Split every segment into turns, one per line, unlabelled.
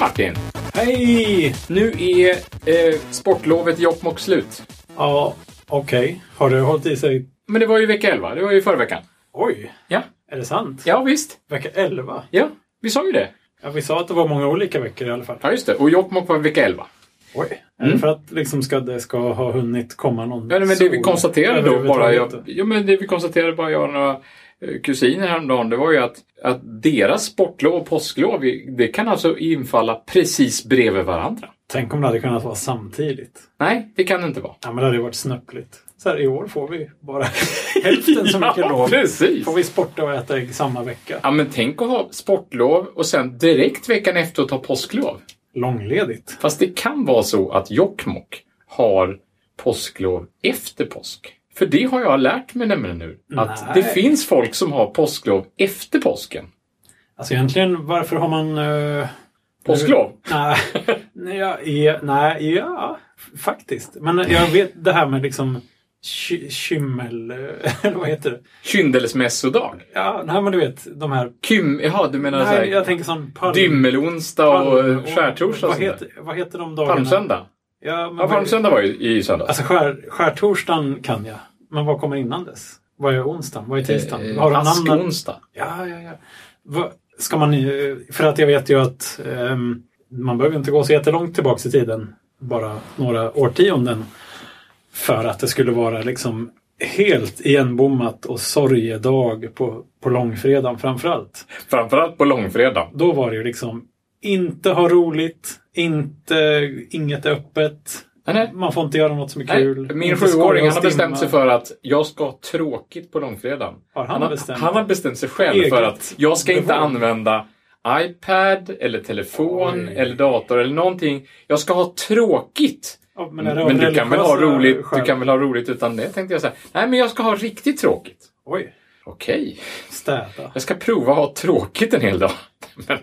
Martin! Hej! Nu är eh, sportlovet i Jokkmokk slut.
Ja, okej. Har det hållit i sig?
Men det var ju vecka 11, det var ju förra veckan.
Oj,
Ja,
är det sant?
ja visst.
Vecka 11?
Ja, vi sa ju det.
Ja, vi sa att det var många olika veckor i alla fall.
Ja, just det. Och Jokkmokk var vecka 11.
Oj. Är det för att liksom ska, det ska ha hunnit komma någon
Mm. Ja, nej, men det vi
sol
konstaterade då bara,
överhuvudtaget?
jag, ja, men det vi konstaterade bara jag och några eh, kusiner häromdagen, det var ju att, att deras sportlov och påsklov, det kan alltså infalla precis bredvid varandra.
Tänk om det hade kunnat vara samtidigt.
Nej, det kan det inte vara.
Ja, men det hade ju varit snöpligt. Så här, i år får vi bara hälften så mycket lov.
precis!
Får vi sporta och äta ägg samma vecka.
Ja, men tänk att ha sportlov och sen direkt veckan efter att ta påsklov.
Långledigt.
Fast det kan vara så att Jokkmokk har påsklov efter påsk. För det har jag lärt mig nämligen nu. Att
Nej.
det finns folk som har påsklov efter påsken.
Alltså egentligen, varför har man... eh,
Påsklov?
Nej, nej, ja, ja, nej, ja, f- faktiskt. Men jag vet det här med liksom ky- kymmel... Eller vad heter det?
Kyndelsmässodag?
Ja, nej, men du vet de här...
Kym... Jaha, du menar
Nej,
såhär,
jag tänker sån palm...
dymmelonsdag och eh, skärtorsdag? och sånt
Vad
där.
heter, vad heter de dagarna?
Palmsöndag?
Ja, men
Ja,
vad-
palmsöndag var ju i söndags.
Alltså skär, skärtorsdagen kan jag. Men vad kommer innan dess? Vad är onsdagen? Vad är tisdagen?
Eh,
Har de namn?
Askonsdag.
Ja, ja, ja. Va, ska man, eh, för att jag vet ju att ehm, man behöver inte gå så jättelångt tillbaks i tiden, bara några årtionden, för att det skulle vara liksom helt igenbommat och sorgedag på, på långfredagen framförallt.
Framförallt på långfredagen.
Då var det ju liksom inte ha roligt, inte, inget är öppet,
Nej, nej.
man får inte göra något som är
Nej,
kul.
min
inte skoja
sjuåring
och
han har bestämt
stimma.
sig för att jag ska ha tråkigt på långfredagen.
Har han bestämt?
han har bestämt sig själv
Eget
för att jag ska inte
bevåg.
använda iPad eller telefon
Oj.
eller dator eller någonting. Jag ska ha tråkigt.
Ja, men är det av
Men du kan, väl ha
religiösa
roligt, du
skäl?
kan väl ha roligt utan det, tänkte jag säga. Nej, men jag ska ha riktigt tråkigt.
Oj,
Okej,
städa.
jag ska prova att ha tråkigt en hel dag. Men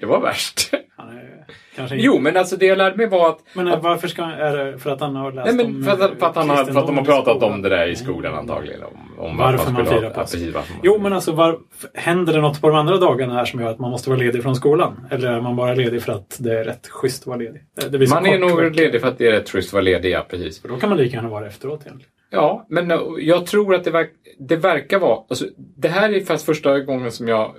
det var värst.
Han är kanske inte...
Jo, men alltså det jag lärde mig var att
Men eh, varför ska han... Är det för att han har läst
Nej,
om,
men för, att, för, att han har, för att de har
kristendomen i
pratat
skolan?
om det där i
Nej.
skolan antagligen. Om, om
Varför
att
man
skulle ha-
firar påsk.
ja, precis, varför man-
Jo, men alltså var, händer det något på de andra dagarna här som gör att man måste vara ledig från skolan? Eller är man bara ledig för att det är rätt schysst att vara ledig? Det det blir så
Man är
kort
nog
vecka.
ledig för att det är rätt schysst att vara ledig, ja precis.
Då kan man lika gärna vara det efteråt egentligen.
Ja, men eh, jag tror att det, verk, det verkar vara... Alltså, det här är faktiskt första gången som jag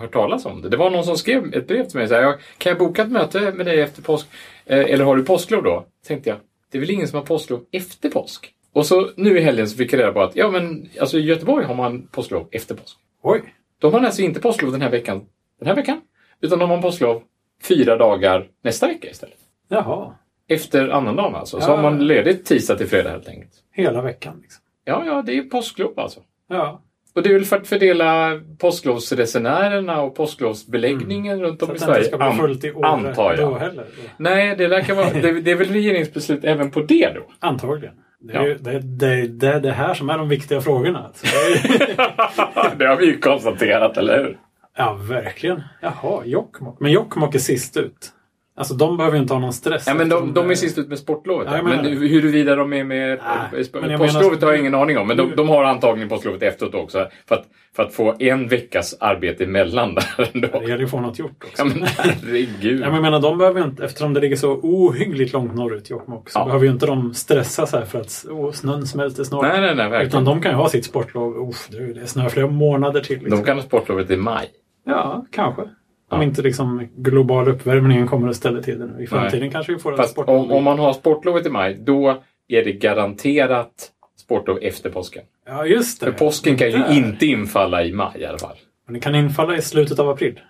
hört talas om det. Det var någon som skrev ett brev till mig så här, "Jag- Kan jag boka ett möte med dig efter påsk? Eh, Eller har du påsklov då? Tänkte jag. Det är väl ingen som har påsklov efter påsk? Och så nu i helgen så fick jag reda på att ja, men alltså, i Göteborg har man påsklov efter påsk.
Oj!
De har alltså inte påsklov den här veckan, den här veckan utan de har påsklov fyra dagar nästa vecka istället.
Jaha.
Efter annandagen alltså. Så
Ja.
har man ledigt tisdag till fredag helt enkelt.
Hela veckan liksom.
Ja, ja, det är påsklov alltså.
Ja.
Och det är väl för att fördela påsklovsresenärerna och påsklovsbeläggningen runt
Mm. Så
om i
att det
Sverige.
inte ska bli
an-
fullt i år
antar jag.
då heller.
Nej, det, verkar vara, det, det är väl regeringsbeslut även på det då?
Antagligen. Det är,
Ja.
ju, det, det, det är det här som är de viktiga frågorna. Alltså.
det har vi ju konstaterat, eller hur?
Ja, verkligen. Jaha, Jokkmokk. Men Jokkmokk är sist ut. Alltså de behöver ju inte ha någon stress.
Ja, men de,
eftersom
de är
det-
sist ut med sportlovet.
Ja, jag
Ja,
menar
men
det.
huruvida de är med
Nej,
på- på
men jag
påsklovet
menar-
har jag ingen aning om. Men de,
Nu-
de har antagligen påsklovet efteråt också. För att, för att få en veckas arbete emellan där
Ja,
ändå.
Det gäller ju att få något gjort också.
Ja, men herregud.
Ja, men jag menar, de behöver ju inte, eftersom det ligger så ohyggligt långt norrut, Jokkmokk, så
Ja.
behöver ju inte de stressa så här för att åh, snön smälter snart.
Nej, nej, nej,
Utan
verkligen.
de kan ju ha sitt sportlov. Uff, du, det är snö flera månader till. Liksom.
De kan ha sportlovet i maj.
Ja, kanske.
Ja.
Om inte liksom global uppvärmningen kommer att ställa till det nu. I framtiden kanske vi får en
Fast
sportlov.
om, om man har sportlovet i maj, då är det garanterat sportlov efter påsken.
Ja, just det.
För påsken kan ju
Eh, Där.
inte infalla i maj i alla fall.
Men det kan infalla i slutet av april.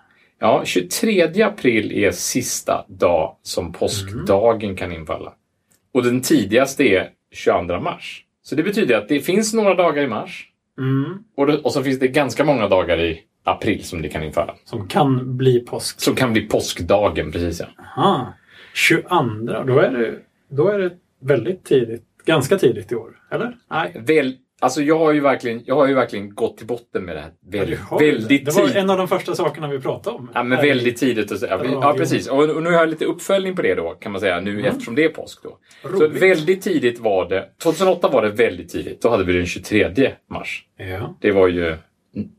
Ja, 23 april är sista dag som påskdagen kan infalla. Och den tidigaste är 22 mars. Så det betyder att det finns några dagar i mars
Mm.
och, det, och så finns det ganska många dagar i april som det kan infalla.
Som kan bli påsk.
Som kan bli påskdagen, precis ja.
Aha. 22, då är, det, då är det väldigt tidigt. Ganska tidigt i år, eller? Nej.
Väl, alltså jag har, ju verkligen, jag har ju verkligen gått till botten med det här väl,
Du har ju
väldigt
det. det var
tidigt.
en av de första sakerna vi pratade om.
Ja, men
Här i-
väldigt tidigt. Och så, ja, vi- ja,
Radio.
precis. Och, och nu har jag lite uppföljning på det då, kan man säga, nu eftersom det är påsk. Då. Så
Mm. Roligt.
väldigt tidigt var det. 2008 var det väldigt tidigt. Då hade vi den 23 mars.
Ja.
Det var ju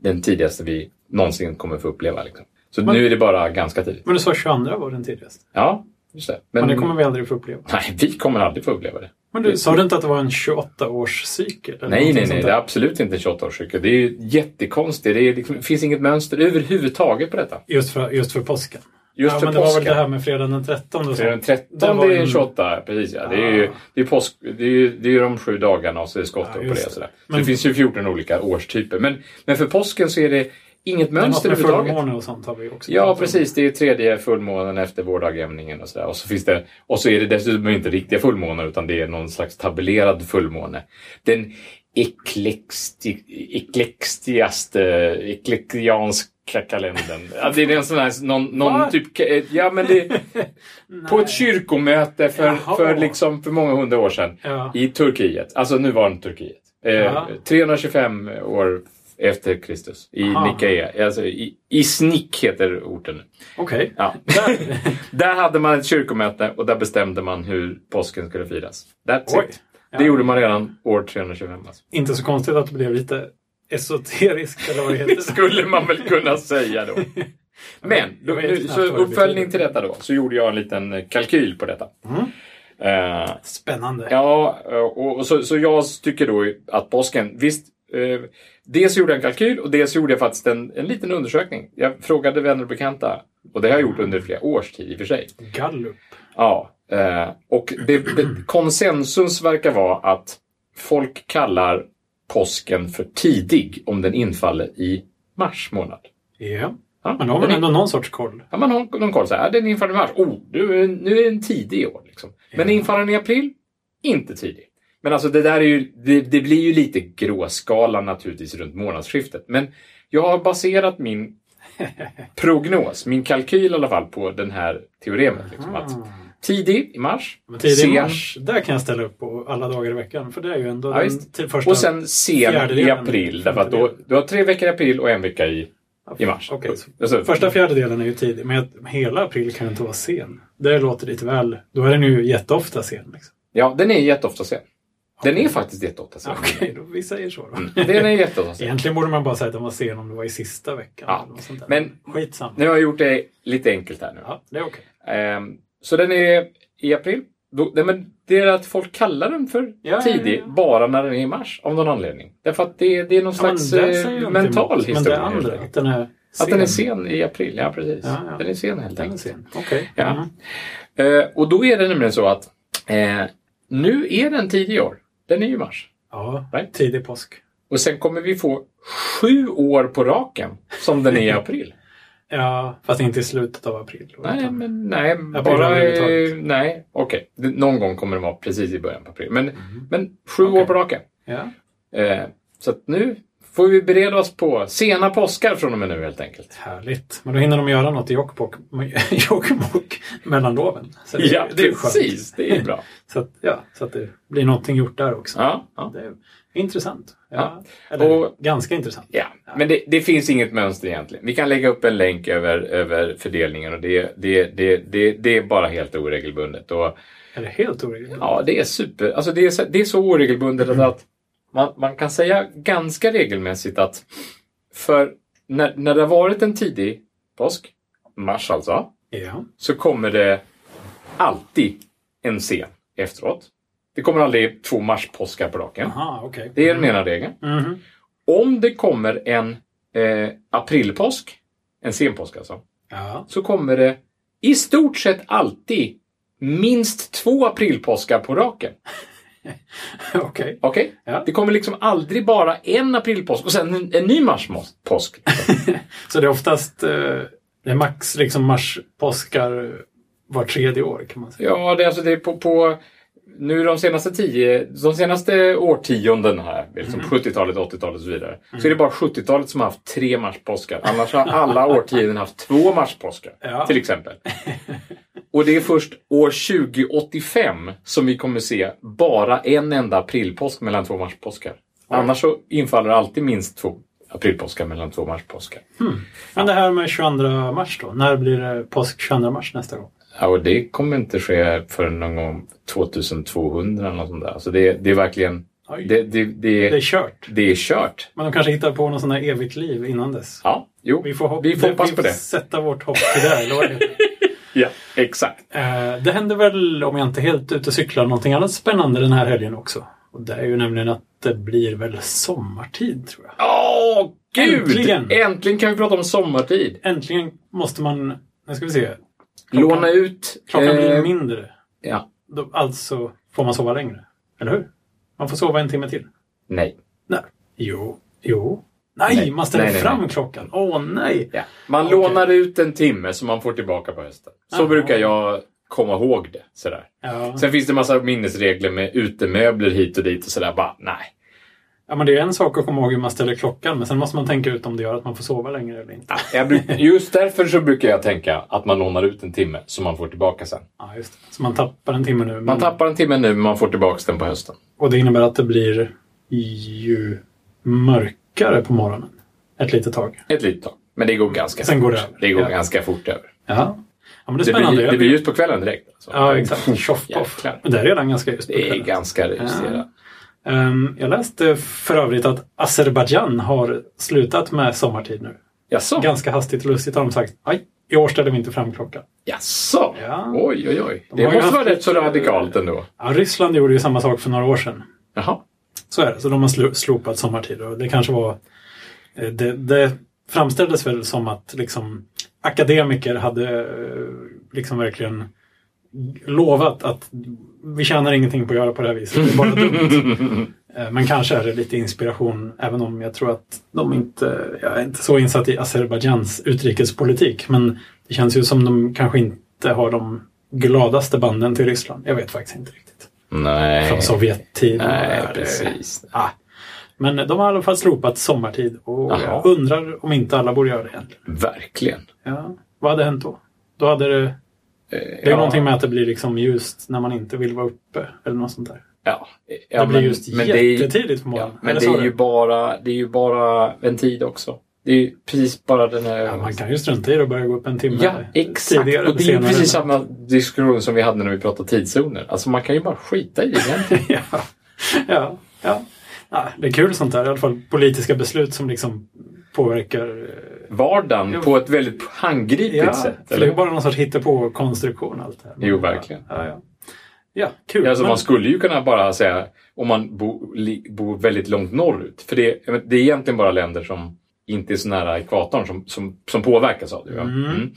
den tidigaste vi någonsin kommer få uppleva. Liksom. Så
Men-
nu är det bara ganska tidigt.
Men du sa 22 var den tidigast.
Ja, just det.
Men,
Men,
det kommer vi aldrig få uppleva.
Nej, vi kommer aldrig få uppleva det.
Men du, sa du inte att det var en 28-årscykel?
Nej,
eller någonting
nej, nej.
sånt
Det
där?
är absolut inte en 28-årscykel. Det är ju jättekonstigt. Det är liksom, det finns inget mönster överhuvudtaget på detta.
Just för, just för påsken.
Just
ja,
för
men
påsken.
det var väl det här med fredagen den 13 och
Det är den
sånt.
13,
Det var
det är
en-
28, precis ja. Det är ju
Ah.
det är påsk, det är, ju- det är ju de sju dagarna och så är det skottår
Ja,
på
just
det.
det.
Och sådär. Så
Men-
det finns ju 14 olika årstyper. Men, men för påsken så är det inget
Det är något
mönster
med
överhuvudtaget.
fullmåne och sånt har vi också.
Ja,
pratat om.
precis. Det är tredje fullmånen efter vårdagjämningen och sådär. Och så, finns det, och så är det dessutom inte riktiga fullmånar utan det är någon slags tabellerad fullmåne. Den eklexti, eklextiaste, eklektianska kalendern. Ja, det är en sån här, någon,
Va?
någon typ... Ja, men det, på ett kyrkomöte för,
Jaha.
för, liksom, för många hundra år sedan
Ja.
i Turkiet, alltså nuvarande Turkiet. Eh,
Ja.
325 år efter Kristus i
Aha.
Nicaea. Alltså, i, Isnik heter orten.
Okej.
Ja. Där, där hade man ett kyrkomöte och där bestämde man hur påsken skulle firas. That's
Oj.
it.
Ja.
Det gjorde man redan år 325. Alltså.
Inte så konstigt att det blev lite esoteriskt eller vad det
Det
heter.
skulle man väl kunna säga då. Men,
Jag
då,
vet
nu,
knappt
så
vad det
uppföljning till
betyder.
detta då, så gjorde jag en liten kalkyl på detta.
Mm.
Eh,
Spännande.
Ja, eh, och, och så, så jag tycker då att påsken, visst, eh, dels gjorde jag en kalkyl och dels gjorde jag faktiskt en, en liten undersökning. Jag frågade vänner och bekanta och det har jag gjort under flera års tid i och för sig.
Gallup.
Ja, eh, och det, det, konsensus verkar vara att folk kallar påsken för tidig om den infaller i mars månad.
Ja.
Ja,
Men då har man
den-
ändå någon sorts koll.
Ja, man har någon koll. Så här, den infaller i mars. Oh, nu är, nu är den tidig i år. Liksom. Men
Ja.
infaller den i april? Inte tidig. Men alltså det där är ju, det, det blir ju lite gråskala naturligtvis runt månadsskiftet. Men jag har baserat min prognos, min kalkyl i alla fall, på den här teoremet. Liksom, att
Mm.
tidig i mars,
Men tidig
sen,
mars, där kan jag ställa upp på alla dagar i veckan. För det är ju ändå
Ja,
den
visst.
till första...
och sen sen i
fjärdedelen,
april. Därför att då, du har tre veckor i april och en vecka i, i mars.
Okej, så
Alltså,
Första fjärdedelen är ju tidig, men att hela april kan inte vara sen. Det låter lite väl... Då är den ju jätteofta sen. Liksom.
ja, den är jätteofta sen. Den är faktiskt jätteofta sen.
Okej, då, vi säger så då.
Den är jätteofta sen.
Egentligen borde man bara säga att den var sen om det var i sista veckan.
Ja,
eller något sånt där.
men-
Skitsamma.
Nu har jag gjort det lite enkelt här nu.
Ja, det är okej.
Ehm, så den är i april. Då, nej, men det är att folk kallar den för
ja,
tidig
ja.
bara när den är i mars av någon anledning. Därför att det, det är någon
Ja, men
slags
där
eh,
säger jag inte
mental
emot, Men
historia.
det
helt
andra,
enkelt.
att den är sen.
Att den är sen i april, ja precis.
Ja, ja.
Den är sen helt
Den är
enkelt.
sen. Okej.
Ja.
Mm.
Eh, och då är det nämligen så att eh, nu är den tidig i år. Den är ju i mars.
ja.
Right.
Tidig påsk.
Och sen kommer vi få sju år på raken som den är i april.
Ja, fast inte i slutet av april. då,
Nej,
utan-
men nej.
April
Bara, eh,
överhuvudtaget.
nej, okej. Det- Någon gång kommer det vara precis i början på april. Men,
Mhm.
men sju år på raken.
Ja.
Eh, så att nu får vi bereda oss på sena påskar från och med nu helt enkelt.
Härligt. Men då hinner de göra något i Jokkmokk, Jokkmokk mellan loven. Så det, är-
Ja,
det är ju skönt.
precis. Det är bra.
Så att, ja, så att det blir någonting gjort där också.
Ja, ja.
Det är intressant. Ja. Eller
Och-
ganska intressant.
ja. Men det, det finns inget mönster egentligen. Vi kan lägga upp en länk över, över fördelningen och det, det, det, det, det är bara helt oregelbundet. Och,
Eller helt orimligt.
ja, det är super. Alltså det, är, så- det är så oregelbundet att man, man kan säga ganska regelmässigt att för när, när det har varit en tidig påsk, mars alltså,
Ja.
så kommer det alltid en scen efteråt. Det kommer aldrig två marspåskar på raken.
Aha, okej.
Det är den ena regeln.
Mhm.
Om det kommer en eh, aprilpåsk, en senpåsk alltså,
Ja.
så kommer det i stort sett alltid minst två aprilpåskar på raken.
Okej.
Okej?
Ja.
Det kommer liksom aldrig bara en aprilpåsk och sen en, en ny marspåsk.
Så det är oftast eh, det är max liksom mars, påskar var tredje år kan man säga.
Ja, det, är alltså, det är på, på nu de senaste, tio, de senaste årtionden här, liksom 70-talet, 80-talet och så vidare, så är det bara 70-talet som har haft tre marspåskar. Annars har alla årtionden haft två marspåskar,
Ja.
till exempel. Och det är först år 2085 som vi kommer se bara en enda aprilpåsk mellan två marspåskar. Annars så infaller alltid minst två aprilpåskar mellan två marspåskar.
Men det här med 22 mars då? När blir det påsk 22 mars nästa gång?
Ja, och det kommer inte ske förrän någon gång 2200 eller något sånt där. Alltså det, det är verkligen
Oj.
Det, det, det,
Det är
det,
kört.
är kört.
Men de kanske hittar på något sånt här evigt liv innan dess.
Ja, jo,
Vi får, hopp-
vi får hoppas
vi
på det.
sätta vårt hopp till det. Eller vad är det?
Ja, exakt.
Eh, det händer väl, om jag inte helt ute och cyklar, någonting annat spännande den här helgen också. Och det är ju nämligen att det blir väl sommartid, tror jag.
Åh, gud!
Äntligen!
Äntligen kan vi prata om sommartid.
Äntligen måste man, nu ska vi se, Klockan-
Låna ut...
klockan blir
eh,
mindre.
ja.
Då, alltså får man sova längre. Eller hur? Man får sova en timme till.
Nej.
Nej. Jo. Jo. Nej,
Nej.
man ställer
Nej, nej,
fram
nej.
klockan. Åh nej.
Ja. Man
Okej.
lånar ut en timme som man får tillbaka på hösten. Så
Aha.
brukar jag komma ihåg det. Sådär.
Ja.
Sen finns det en massa minnesregler med utemöbler hit och dit och sådär. Bara, nej.
ja, men det är en sak att komma ihåg hur man ställer klockan, men sen måste man tänka ut om det gör att man får sova längre eller inte.
Jag bruk, just därför så brukar jag tänka att man lånar ut en timme som man får tillbaka sen.
Ja, just det. Så man tappar en timme nu. Men,
Man tappar en timme nu men man får tillbaka den på hösten.
Och det innebär att det blir ju mörkare på morgonen. Ett litet tag.
Ett litet tag. Men det går ganska
Sen
fort.
går det över.
det går
Ja.
ganska fort över.
Ja. ja men det är
Det
spännande.
blir, det blir ljus på kvällen direkt. alltså.
Ja, exakt. Tjoff poff.
Jäklar.
Men det är redan ganska just på
Det är
kvällen.
ganska reducerat.
Ehm, Jag läste för övrigt att Azerbajdzjan har slutat med sommartid nu.
Jaså?
Ganska hastigt och lustigt har de sagt aj, i år ställer vi inte fram klockan.
Jaså?
Ja.
Oj, oj, oj.
har
Det
ju
måste
haft
vara rätt så
lite-
radikalt ändå.
Ja, Ryssland gjorde ju samma sak för några år sedan.
Jaha.
Så är det, så de har slo- slopat sommartid. Och det kanske var... eh, Det, det framställdes väl som att liksom, akademiker hade eh, liksom verkligen lovat att vi tjänar ingenting på att göra på det här viset, det är bara dumt. Eh, Men kanske är det lite inspiration, även om jag tror att de inte... Jag är inte så insatt i Azerbajdzjans utrikespolitik, men det känns ju som de kanske inte har de gladaste banden till Ryssland. Jag vet faktiskt inte riktigt.
Nej.
Från Sovjettiden. och det
Nej,
här, eh,
precis.
Ah. Men de har i alla fall slopat sommartid och
Jaha.
jag undrar om inte alla borde göra det egentligen.
Verkligen.
Ja. Vad hade hänt då? Då hade det... Det är ju någonting med att det blir liksom ljust när man inte vill vara uppe eller något sånt där.
Ja. Ja,
det blir
men-
just
men det är ju-
jättetidigt på
Ja,
morgonen.
men
Eller
det
så
är, ju bara, det är ju bara en tid också. Det är ju precis bara den här...
Ja, man kan ju strunta i det och börja gå upp en timme
Ja, exakt.
tidigare
Och
eller
det är ju
senare.
precis samma diskussion som vi hade när vi pratade tidszoner. Alltså man kan ju bara skita i det egentligen.
ja. Ja. Ja. Ja, det är kul sånt där, i alla fall politiska beslut som liksom påverkar eh,
vardagen
Jo.
på ett väldigt handgripligt
Ja,
sätt.
för det
Eller?
är bara någon sorts hittepå-konstruktion allt det här.
Jo, verkligen.
Ja, ja. ja kul.
Alltså,
men-
man skulle ju kunna bara säga, om man bo- li- bor väldigt långt norrut, för det, jag vet, det är egentligen bara länder som inte är så nära ekvatorn som, som, som påverkas av det. Ja?
Mm.
Mm.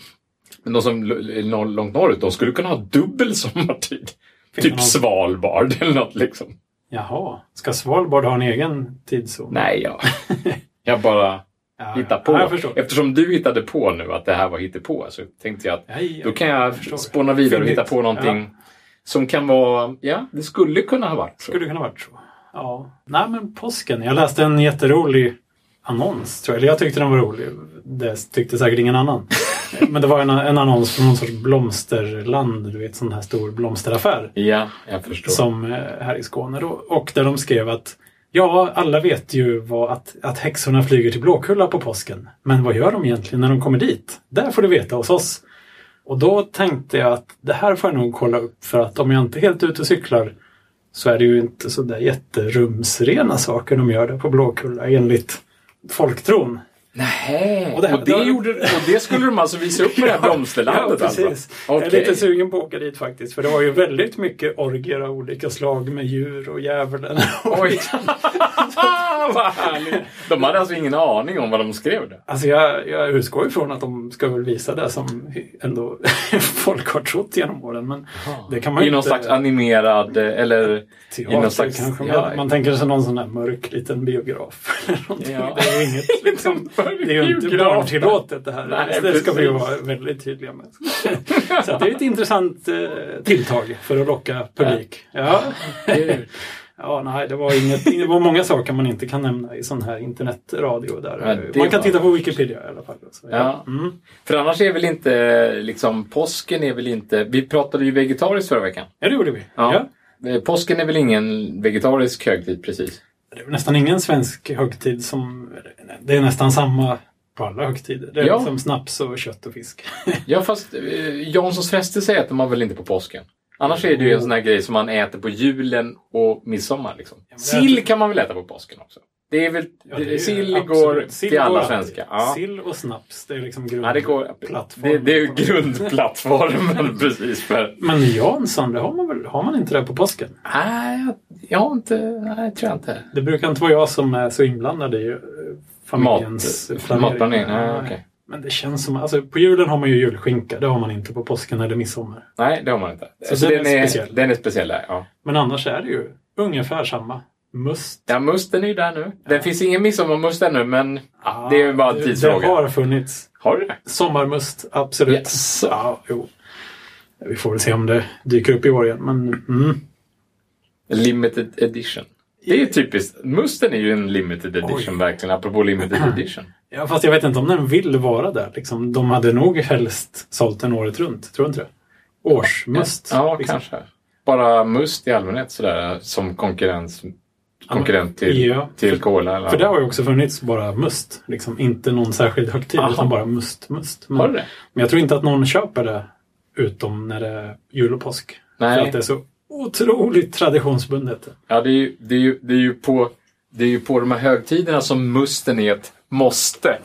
Men de som l- är norr- långt norrut, de skulle kunna ha dubbel sommartid.
Finns det
typ
någon-
Svalbard eller något liksom.
Jaha, ska Svalbard ha en egen tidszon?
Nej, jag, jag bara
Ja,
hittar
Ja,
på.
jag förstår.
Eftersom du hittade på nu att det här var hittepå så tänkte jag att
Nej,
Då kan jag
förstår.
spåna vidare och
Fyndigt.
hitta på någonting som kan vara... Ja, det skulle kunna ha varit så.
skulle det kunna varit så. Ja. Nej, men påsken. Jag läste en jätterolig annons, tror jag. Eller jag tyckte den var rolig. Det tyckte säkert ingen annan. men det var en, en annons från någon sorts blomsterland, du vet, sån här stor blomsteraffär.
Ja, jag förstår.
som eh, här i Skåne då. Och där de skrev att ja, alla vet ju vad, att, att häxorna flyger till Blåkulla på påsken. Men vad gör de egentligen när de kommer dit? Där får du veta hos oss. Och då tänkte jag att det här får jag nog kolla upp för att om jag inte är helt ute och cyklar så är det ju inte så där jätterumsrena saker de gör där på Blåkulla enligt folktron.
Nej,
Och
och
det
det,
här- det-
gjorde, och det skulle de alltså visa upp på det här blomsterlandet?
Ja, precis.
Alltså.
Jag är lite
Okej.
sugen på att åka dit faktiskt. För det var ju väldigt mycket orgier av olika slag med djur och djävulen. Och
Oj. vad härligt! De hade alltså ingen aning om vad de skrev där.
Alltså jag, jag utgår ifrån att de ska väl visa det som ändå folk har trott genom åren. Men det kan man
I
ju
någon
inte...
slags animerad eh, eller...
teater,
i någon slags-
kanske.
ja,
man, man tänker sig någon sån där mörk liten biograf. Eller någonting.
Ja.
Det är ju inget liksom... Det är ju inte barntillåtet det här.
Nej,
det ska vi ju
precis.
vara väldigt tydliga med. Så att det är ett intressant eh, tilltag för att locka publik. Ja.
Gud.
Ja, nej, det var, inget, det var många saker man inte kan nämna i sån här internetradio.
Ja,
Där.
det
Man kan
var-
titta på Wikipedia i alla fall. Så,
Ja.
Mm.
För annars är väl inte liksom påsken är väl inte... Vi pratade ju vegetariskt förra veckan.
Ja, det gjorde vi. Ja.
Ja. Eh, Påsken är väl ingen vegetarisk högtid precis?
Det är väl nästan ingen svensk högtid som... Det är nästan samma på alla högtider. Det är
Ja.
liksom snaps och kött och fisk.
Ja, fast eh, Janssons frestelse äter man väl inte på påsken? Annars är det ju en sån här grej som man äter på julen och midsommar. Liksom.
men det
Sill
äter-
kan man väl äta på påsken också? Det är väl,
Ja, det är ju-
sill
absolut.
går
Sill
till alla
går
svenskar.
alltid.
Ja.
Sill och snaps, det är liksom grund...
Ja, det, går,
plattformen.
det, det är ju grundplattformen precis. För,
Men Jansson, det har man väl? Har man inte det på påsken?
nej, jag, jag har inte, nej, jag tror jag inte.
Det brukar inte vara jag som är så inblandad i eh, familjens
Mat-
planering.
matplanering, nej, okej.
Men det känns som, alltså på julen har man ju julskinka, det har man inte på påsken eller midsommar.
Nej, det har man inte.
Så den är speciell.
Den är speciell där, ja.
Men annars är det ju ungefär samma. Must.
Ja, musten är ju där nu. Det finns ingen midsommarmust ännu, men ja, det är ju bara en
Ah, Det
tidsfråga. Har...
har funnits.
du det?
Sommarmust, absolut.
Yes.
Ja, jo. Vi får väl se om det dyker upp i år igen. Men, mm.
Limited edition. Det är ju typiskt. Musten är ju en limited edition, verkligen. Apropå limited edition.
ja, fast jag vet inte om den vill vara där. Liksom, de hade nog helst sålt den året runt, tror du inte det? Årsmust.
Ja,
liksom.
kanske. Bara must i allmänhet sådär som konkurrens, konkurrent till,
ja.
till cola. Eller
För det
vad.
har ju också funnits bara must. Liksom. Inte någon särskild högtid,
Aha.
utan bara must, must. Men,
Har du det?
men jag tror inte att någon köper det utom när det är jul och påsk. För
Nej.
att det är så otroligt traditionsbundet.
Ja, det är ju, det är ju, det är ju på... Det är ju på de här högtiderna som musten är ett måste.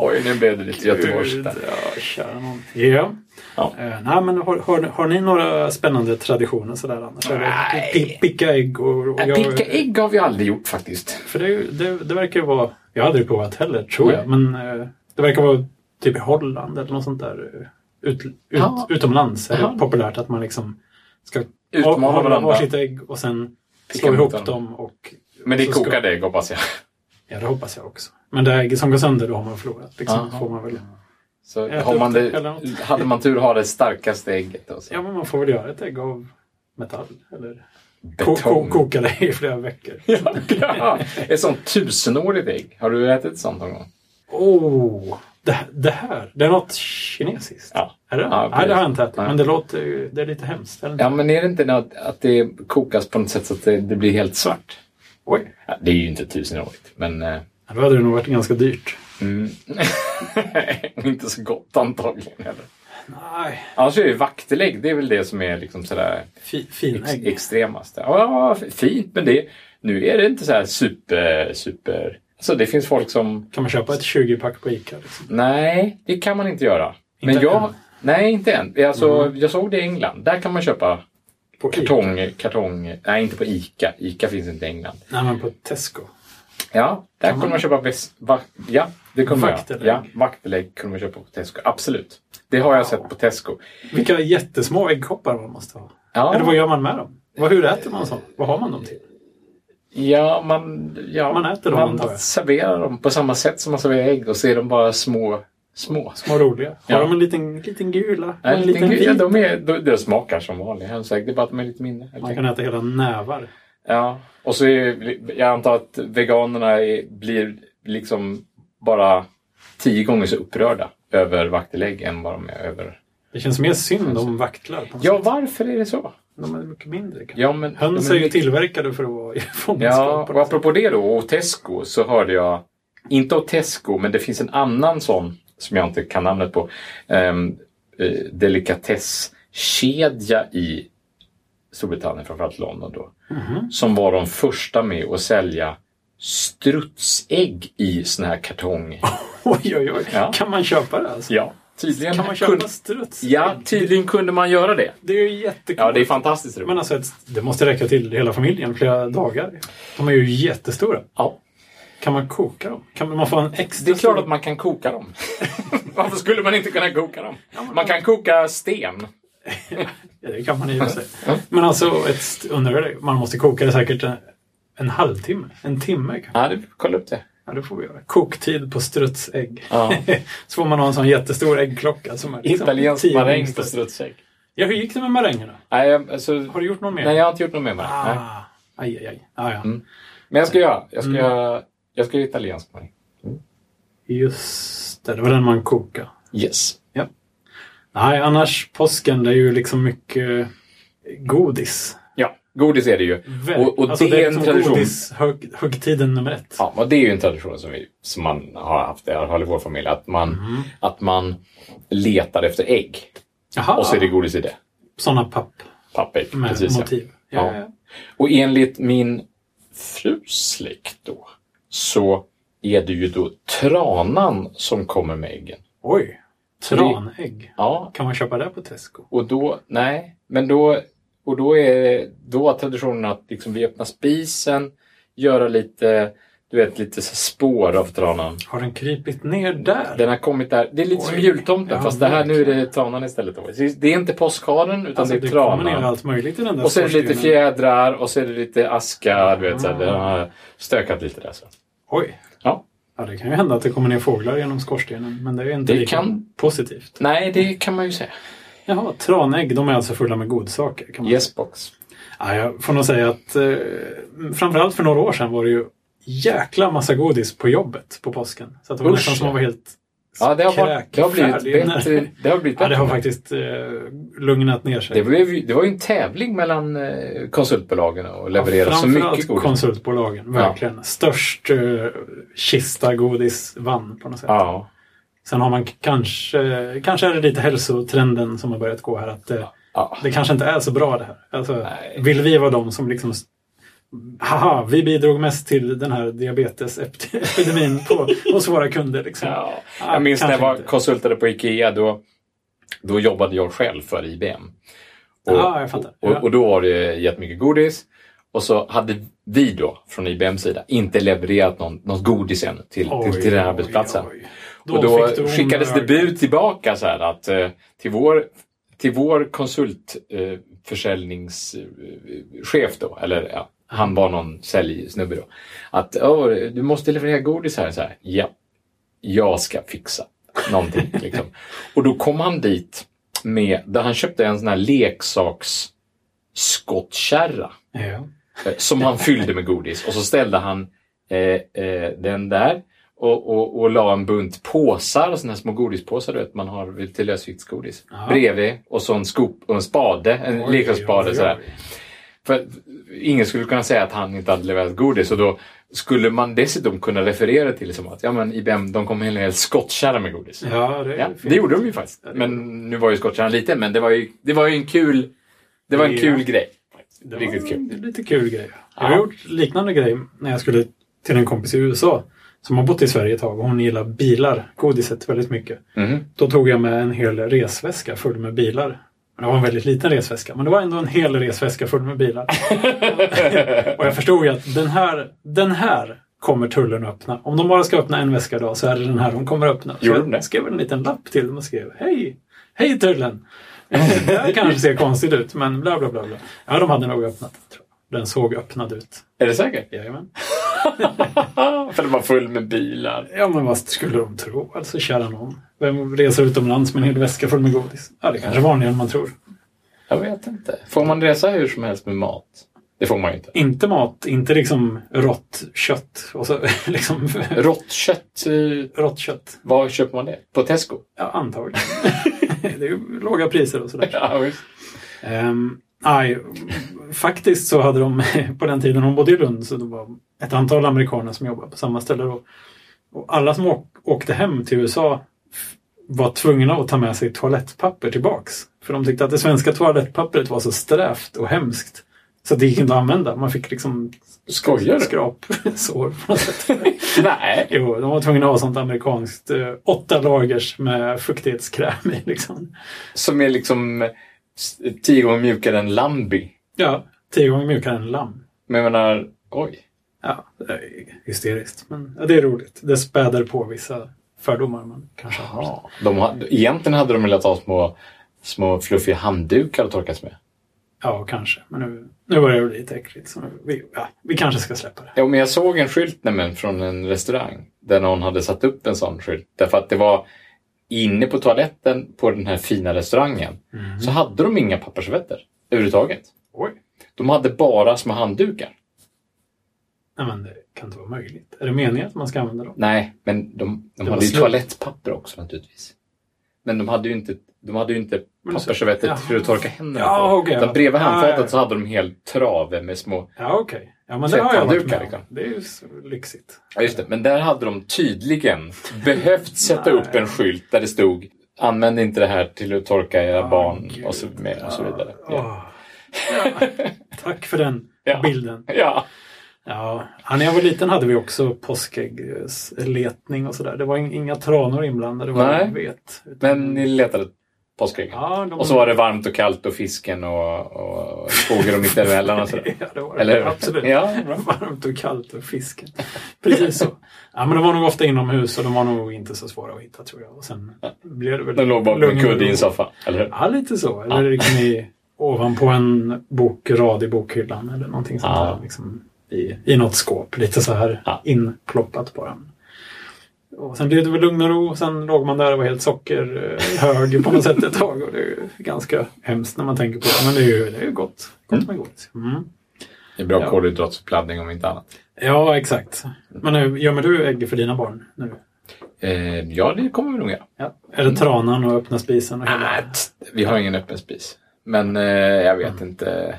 Oj, nu blev det lite göteborgskt där.
Ja, kära nån. Ja.
Ja.
Eh, nej, men har, har, har ni några spännande traditioner sådär annars? Är det
Nej.
pi- Picka ägg och... och
Äh,
jag-
Picka ägg har vi aldrig gjort faktiskt.
För det, är ju- det, det verkar ju vara... Jag har aldrig provat heller, tror jag. Men eh, det verkar vara typ i Holland eller något sånt där. eh, Ut, ut,
Ja.
Utomlands är
Ja.
det populärt att man liksom ska
Utmana
ha- ha
varandra.
varsitt ägg och sen
Picka
slå
mot
ihop
varandra.
dem och...
Men det är
så ska-
kokade ägg hoppas jag.
Ja, det hoppas jag också. Men det ägg som går sönder, då har man förlorat. Liksom,
Aha.
får man väl...
Så
Ät
har
upp
man
det,
det,
eller något.
hade man tur ha det starkaste ägget. Och så.
Ja, men man får väl göra ett ägg av metall. Eller ko- ko-
Betong.
koka det i flera veckor.
ja, ett sånt tusenårigt ägg. Har du ätit ett sånt någon gång?
Oh, det, det här. Det är något kinesiskt.
Ja.
Är det?
Ja,
Nej, det har jag inte ätit.
Nej.
Men det låter ju... Det är lite hemskt. Eller?
Ja, men är det inte något, att det kokas på något sätt så att det, det blir helt svart?
Oj.
Ja, det är ju inte tusenårigt, men eh,
Ja, Då hade det nog varit ganska dyrt.
mm. inte så gott antagligen heller.
Nej,
Annars är det ju vaktelägg, det är väl det som är liksom sådär
fi, finägg.
extremaste. Ja, fint, men det, nu är det inte så här super, super... Alltså det finns folk som...
Kan man köpa ett 20-pack på Ica? Liksom?
Nej, det kan man inte göra.
Inte
men jag...
än? Mm.
Nej, inte än. Alltså, Jag såg det i England. Där kan man köpa
På Ica?
kartong, kartong... Nej, inte på ICA. ICA finns inte i England.
Nej, men på Tesco.
Ja, där
Kan
kunde
man-
man köpa väs- va, Ja, det kunde man göra.
Vaktelägg.
Ja, vaktelägg kunde man köpa på Tesco. Absolut. Det har jag sett på Tesco.
Vilka jättesmå äggkoppar man måste ha.
Ja.
Eller vad gör man med dem? Vad, hur äter man sånt? Vad har man dem till?
Ja, man, ja,
Man äter dem, antar
man
jag.
serverar dem på samma sätt som man serverar ägg och så är de bara små. små.
Små roliga. Har
Ja.
de en liten, liten gula?
Nej,
en
lite
liten
gul- ja,
vit?
de, är, de, de smakar som vanliga hönsägg, det är bara att de är lite mindre. helt
Man
enkelt.
kan äta hela nävar.
Ja. Och så är, jag antar att veganerna är, blir liksom bara tio gånger så upprörda över vaktelägg än vad de är över...
Det känns mer synd om vaktlar. på något
Ja,
sätt.
varför är det så?
De är mycket mindre kanske.
Ja, men,
Höns
men-
är ju tillverkade för att vara i alltså. fångenskap.
Ja,
på
och
något sätt.
apropå det då, och Tesco, så hörde jag, inte av Tesco, men det finns en annan sån som jag inte kan namnet på, um, delikatesskedja i Storbritannien, framförallt London då,
Mm.
som var de första med att sälja strutsägg i sån här kartong.
Oj, oj, oj.
Ja.
Kan man köpa det alltså?
Ja, tydligen,
Kan man köpa
kunde,
struts?
ja, tydligen kunde man göra det.
Det är ju jättekul.
Ja, det är fantastiskt roligt.
Men alltså, ett, det måste räcka till hela familjen flera dagar. De är ju jättestora.
Ja.
Kan man koka dem? Kan man få en extra
Det är klart
stor-
att man kan koka dem. Varför skulle man inte kunna koka dem? Man kan koka sten.
Ja, det kan man i och för sig. Men alltså, ett, st- undrar hur det, man måste koka det säkert en, en halvtimme. En timme kanske.
Ja, du, kolla upp det.
Ja, det får vi göra. Koktid på strutsägg.
Ja.
så får man ha en sån jättestor äggklocka som är liksom
Italiensk
tio
maräng
minuter.
på strutsägg.
Ja, hur gick det med marängerna?
Nej, jag- alltså,
Har du gjort någon mer?
nej, jag har inte gjort något mer med det. Nej. Mm.
Ah, aj, aj, aj. Ah, ja.
Men jag ska göra. Jag ska, göra, jag ska göra italiensk maräng.
Just det, det var den man kokade.
Yes.
Nej, annars påsken, det är ju liksom mycket godis.
Ja, godis är det ju.
Väl-
Och, och
alltså,
det är en
liksom
tradition.
godishög- högtiden nummer ett.
Ja, och det är ju en tradition som, vi, som man har haft i alla fall i vår
Mm.
familj. Att man, att man letar efter ägg
Jaha.
och så är det godis i det.
sådana papp
papper.
med
Precis, ja.
motiv. Ja.
Ja.
Ja.
Och enligt min frus släkt då, så är det ju då tranan som kommer med äggen.
Oj! Tranägg.
Ja,
Kan man köpa det på Tesco?
och då, nej, men då, och då är då var traditionen att liksom vi öppnar spisen, göra lite, du vet, lite så här spår av tranan.
Har den krypit ner där?
Den har kommit där. Det är lite som
Oj.
jultomten
Ja,
fast det här nu är
verkligen.
det tranan istället. Då. Det är inte påskharen utan
alltså,
det
det
är
kommer ner
tranan.
allt möjligt i den där
Och så är det lite
skorstenen.
fjädrar och så är det lite aska. Du vet, så här,
Ah.
den har stökat lite där. Så.
Oj!
Ja.
Ja, det kan ju hända att det kommer ner fåglar genom skorstenen, men det är ju inte
Det
lika
kan-
positivt.
Nej, det kan man ju säga.
Jaha, tranägg, de är alltså fulla med godsaker. Kan man säga.
Yesbox.
Ja, jag får nog säga att eh, framförallt för några år sedan var det ju jäkla massa godis på jobbet på påsken. Så att det var
Usch,
nästan som
ja.
man var helt
Ja, det har, varit, det har blivit
kräkfärdig.
bättre. Det har blivit
Ja, det
bättre.
har faktiskt eh, lugnat ner sig.
Det, blev, ju- det var ju en tävling mellan eh, konsultbolagen att leverera så
Framförallt
mycket godis.
konsultbolagen, verkligen. Störst eh, kista godis vann på något sätt.
Ja.
Sen har man k- kanske, kanske är det lite hälsotrenden som har börjat gå här. Att det,
ja.
det kanske inte är så bra det här. Alltså,
Nej.
vill vi vara de som liksom s- Haha, vi bidrog mest till den här diabetesepidemin på, hos våra kunder. Liksom.
Ja.
Ja,
Jag minns när jag
kanske
var
inte.
konsultade på IKEA. Då, då jobbade jag själv för IBM.
Ja, jag fattar.
Och,
Ja.
och då var det jättemycket godis. Och så hade vi då, från IBMs sida, inte levererat någon, något godis än till,
Oj,
till, till den här
oj,
arbetsplatsen.
oj.
och då
fick du
skickades det
onda ögon.
bud tillbaka så här att eh, till vår, till vår konsultförsäljningschef då, eller ja, han var någon säljsnubbe då, att "Åh, du måste leverera godis här. Så här. Ja, jag ska fixa någonting. liksom. Och då kom han dit med, där han köpte en sån här leksaks skottkärra
Ja.
eh, som han fyllde med godis och så ställde han eh, eh, den där och, och, och la en bunt påsar, såna här små godispåsar du vet, man har till lösviktsgodis
Aha.
bredvid och så en skop och en spade, en
Oj, oj,
leksaksspade
oj.
sådär. För ingen skulle kunna säga att han inte hade levererat godis och då skulle man dessutom kunna referera till som att ja, men IBM de kom med en hel skottkärra med godis.
Ja, det, är
Ja,
fint.
det gjorde de ju faktiskt.
Ja, det
Men nu var ju skottkärran liten, men det var ju, det var ju en kul, det var en
Ja.
kul grej.
Det
Riktigt
var
kul.
en lite kul grej. Jag
Ja.
har gjort liknande grej när jag skulle till en kompis i USA som har bott i Sverige ett tag och hon gillar bilar, godiset väldigt mycket.
Mhm.
Då tog jag med en hel resväska full med bilar. Men Det var en väldigt liten resväska, men det var ändå en hel resväska full med bilar. och jag förstod ju att den här, den här kommer tullen att öppna. Om de bara ska öppna en väska idag så är det den här de kommer att öppna. Så
Gjorde de det?
jag skrev en liten lapp till dem och skrev Hej! Hej tullen! det här kanske ser konstigt ut, men bla bla bla. bla. Ja, de hade nog öppnat den, tror jag. Den såg öppnad ut.
Är det säkert?
Jajamän.
För den var full med bilar.
Ja, men vad skulle de tro? Alltså, kära någon. Vem reser utomlands med en hel väska full med godis? Ja, det kanske är vanligare än man tror.
Jag vet inte. Får man resa hur som helst med mat? Det får man ju inte.
Inte mat, inte liksom rått kött. Och så, liksom,
Rått kött, eh,
rått kött.
var köper man det? På Tesco?
Ja, antagligen. det är ju låga priser och sådär.
Ja, visst.
Ehm, nej, faktiskt så hade de på den tiden hon bodde i Lund så det var ett antal amerikaner som jobbade på samma ställe. Då. Och alla som åk, åkte hem till USA f- var tvungna att ta med sig toalettpapper tillbaks. För de tyckte att det svenska toalettpappret var så strävt och hemskt. Så det gick inte att använda. Man fick liksom
Skojar du?
skrapsår på något sätt.
Nej.
Jo, de var tvungna att ha sånt amerikanskt eh, åtta lagers med fuktighetskräm i. Liksom.
Som är liksom eh, s- tio gånger mjukare än Lambi.
Ja, tio gånger mjukare än lamm.
Men jag menar, oj.
Ja, det är hysteriskt. Men ja, det är roligt. Det späder på vissa fördomar man kanske har.
Ja. De hade, egentligen hade de velat ha små, små fluffiga handdukar att torkas med.
Ja, kanske. Men nu, nu börjar det bli lite äckligt. Så nu- vi, ja, vi kanske ska släppa det.
Ja, men jag såg en skylt nämligen från en restaurang där någon hade satt upp en sån skylt. Därför att det var inne på toaletten på den här fina restaurangen
Mm.
så hade de inga pappersservetter överhuvudtaget.
Oj.
De hade bara små handdukar.
Nej, men det kan inte vara möjligt. Är det meningen att man ska använda dem?
Nej, men de, de
var
hade ju
slut.
toalettpapper också naturligtvis. Men de hade ju inte, de hade ju inte
Men så-
pappersservetter
Jaha.
för att torka händerna
Ja,
på.
okej.
Utan bredvid
Ah,
handfatet
ja.
så hade de en hel trave med små...
Ja, okej. Ja, men det har jag varit
Tvätthanddukar,
med om.
liksom.
Det är ju så lyxigt.
Ja, just det. Men där hade de tydligen behövt sätta upp en skylt där det stod använd inte det här till att torka era
Ah,
barn
gud.
och så, med, och så vidare. Ja.
Åh. Tack för den
Ja.
bilden.
Ja.
Ja, när jag var liten hade vi också påskäggsletning och sådär. Det var in- inga tranor inblandade vad
Nej.
jag vet. Utan-
Men ni letade påskägg?
ja, de,
Och så var det varmt och kallt och fisken och, och fågel och mittemellan och sådär.
ja, det var det.
Eller hur?
Absolut.
Ja, bra.
Varmt och kallt och fisken. Precis så. Ja, men de var nog ofta inomhus och de var nog inte så svåra att hitta tror jag. Och sen blev det väl
De låg bara med
lugn och
kudde i
ro.
en soffa, eller hur?
Ja, lite så. Eller liksom i, ovanpå en bokrad i bokhyllan eller någonting sånt
Ja.
där. Liksom, i, I något skåp, lite så här
Ja.
inploppat bara. Och sen blev det väl lugn och ro och sen låg man där och var helt sockerhög på något sätt ett tag. Och det är ju ganska hemskt när man tänker på det. Men det är ju, det är ju gott. Gott med godis. Mm.
Det är bra
Ja.
kolhydratsuppladdning om inte annat.
Ja, exakt. Men nu, gömmer du ägg för dina barn nu?
Eh, ja, det kommer vi nog göra.
Ja. Eller
Mm.
tranan och öppna spisen? Och hela...
Nej, tst, Ah, vi har ingen öppen spis. Men eh, jag
Mm.
vet inte.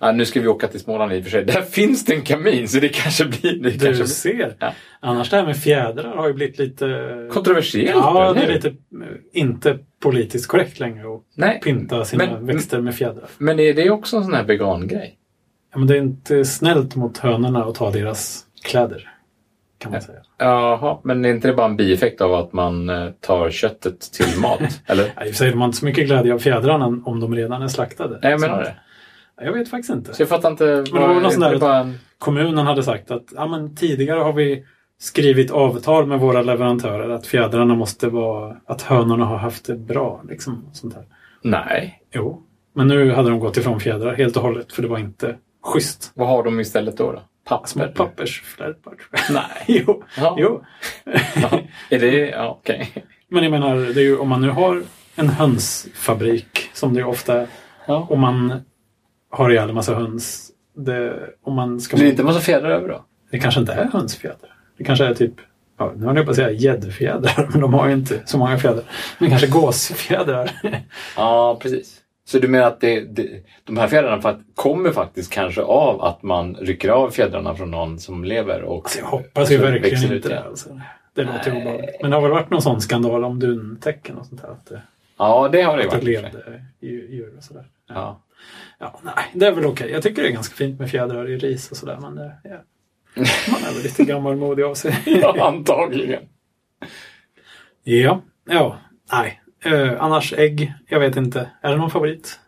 Ja, nu ska vi åka till Småland i och för sig. Där finns det en kamin så det kanske blir... Det kanske
Du
blir
ser.
Ja.
Annars det här med fjädrar har ju blivit lite...
kontroversiellt.
Ja,
eller
det är
hur?
lite eh, inte politiskt korrekt längre att
Nej,
pynta sina
Men-
växter med fjädrar.
men är det också en sån här vegangrej?
Ja, men det är inte snällt mot hönorna att ta deras kläder. Kan man säga.
Jaha, men är inte det bara en bieffekt av att man eh, tar köttet till mat? eller?
Ja, I och för sig de har inte så mycket glädje av fjädrarna om de redan är slaktade.
Nej, jag menar
Så att-
det.
Ja, Jag vet faktiskt inte.
Så jag fattar inte.
var väl någon sån där-
bara en...
Kommunen hade sagt att ja, men tidigare har vi skrivit avtal med våra leverantörer att fjädrarna måste vara... Att hönorna har haft det bra. Liksom, och sånt där.
Nej,
Jo, men nu hade de gått ifrån fjädrar helt och hållet för det var inte schysst.
vad har de istället då? då?
Små
Papper?
pappersflärpar tror jag.
Nej.
Jo.
Ja.
jo.
Ja. Är det... Ja, okej.
Men jag menar, det är ju, om man nu har en hönsfabrik som det ju ofta är.
Ja.
Och man har ihjäl en massa höns. Det, om man ska,
Blir det inte en massa fjädrar över då?
det kanske inte är hönsfjädrar. Det kanske är typ, ja, nu har jag på att säga gäddfjädrar, men de har ju inte så många fjädrar. Men kanske Alltså, gåsfjädrar.
Ja, precis. Så du menar att det, det, de här fjädrarna fakt- kommer faktiskt kanske av att man rycker av fjädrarna från någon som lever? Och,
Alltså jag hoppas ju
och så
verkligen
växer
inte
ut
det.
igen.
Alltså. Det låter
Nej.
obehagligt. Men det har väl varit någon sån skandal om duntäcken och sånt där. Att det,
Ja, det har det
att det
varit. i och för sig.
levde djur djur och sådär.
Ja.
Ja, nej, det är väl okej. Jag tycker det är ganska fint med fjädrar i ris och sådär. Men det, ja. Man är väl lite gammalmodig av sig.
ja, antagligen.
ja, ja, nej. Eh, annars ägg, jag vet inte. Är det någon favorit?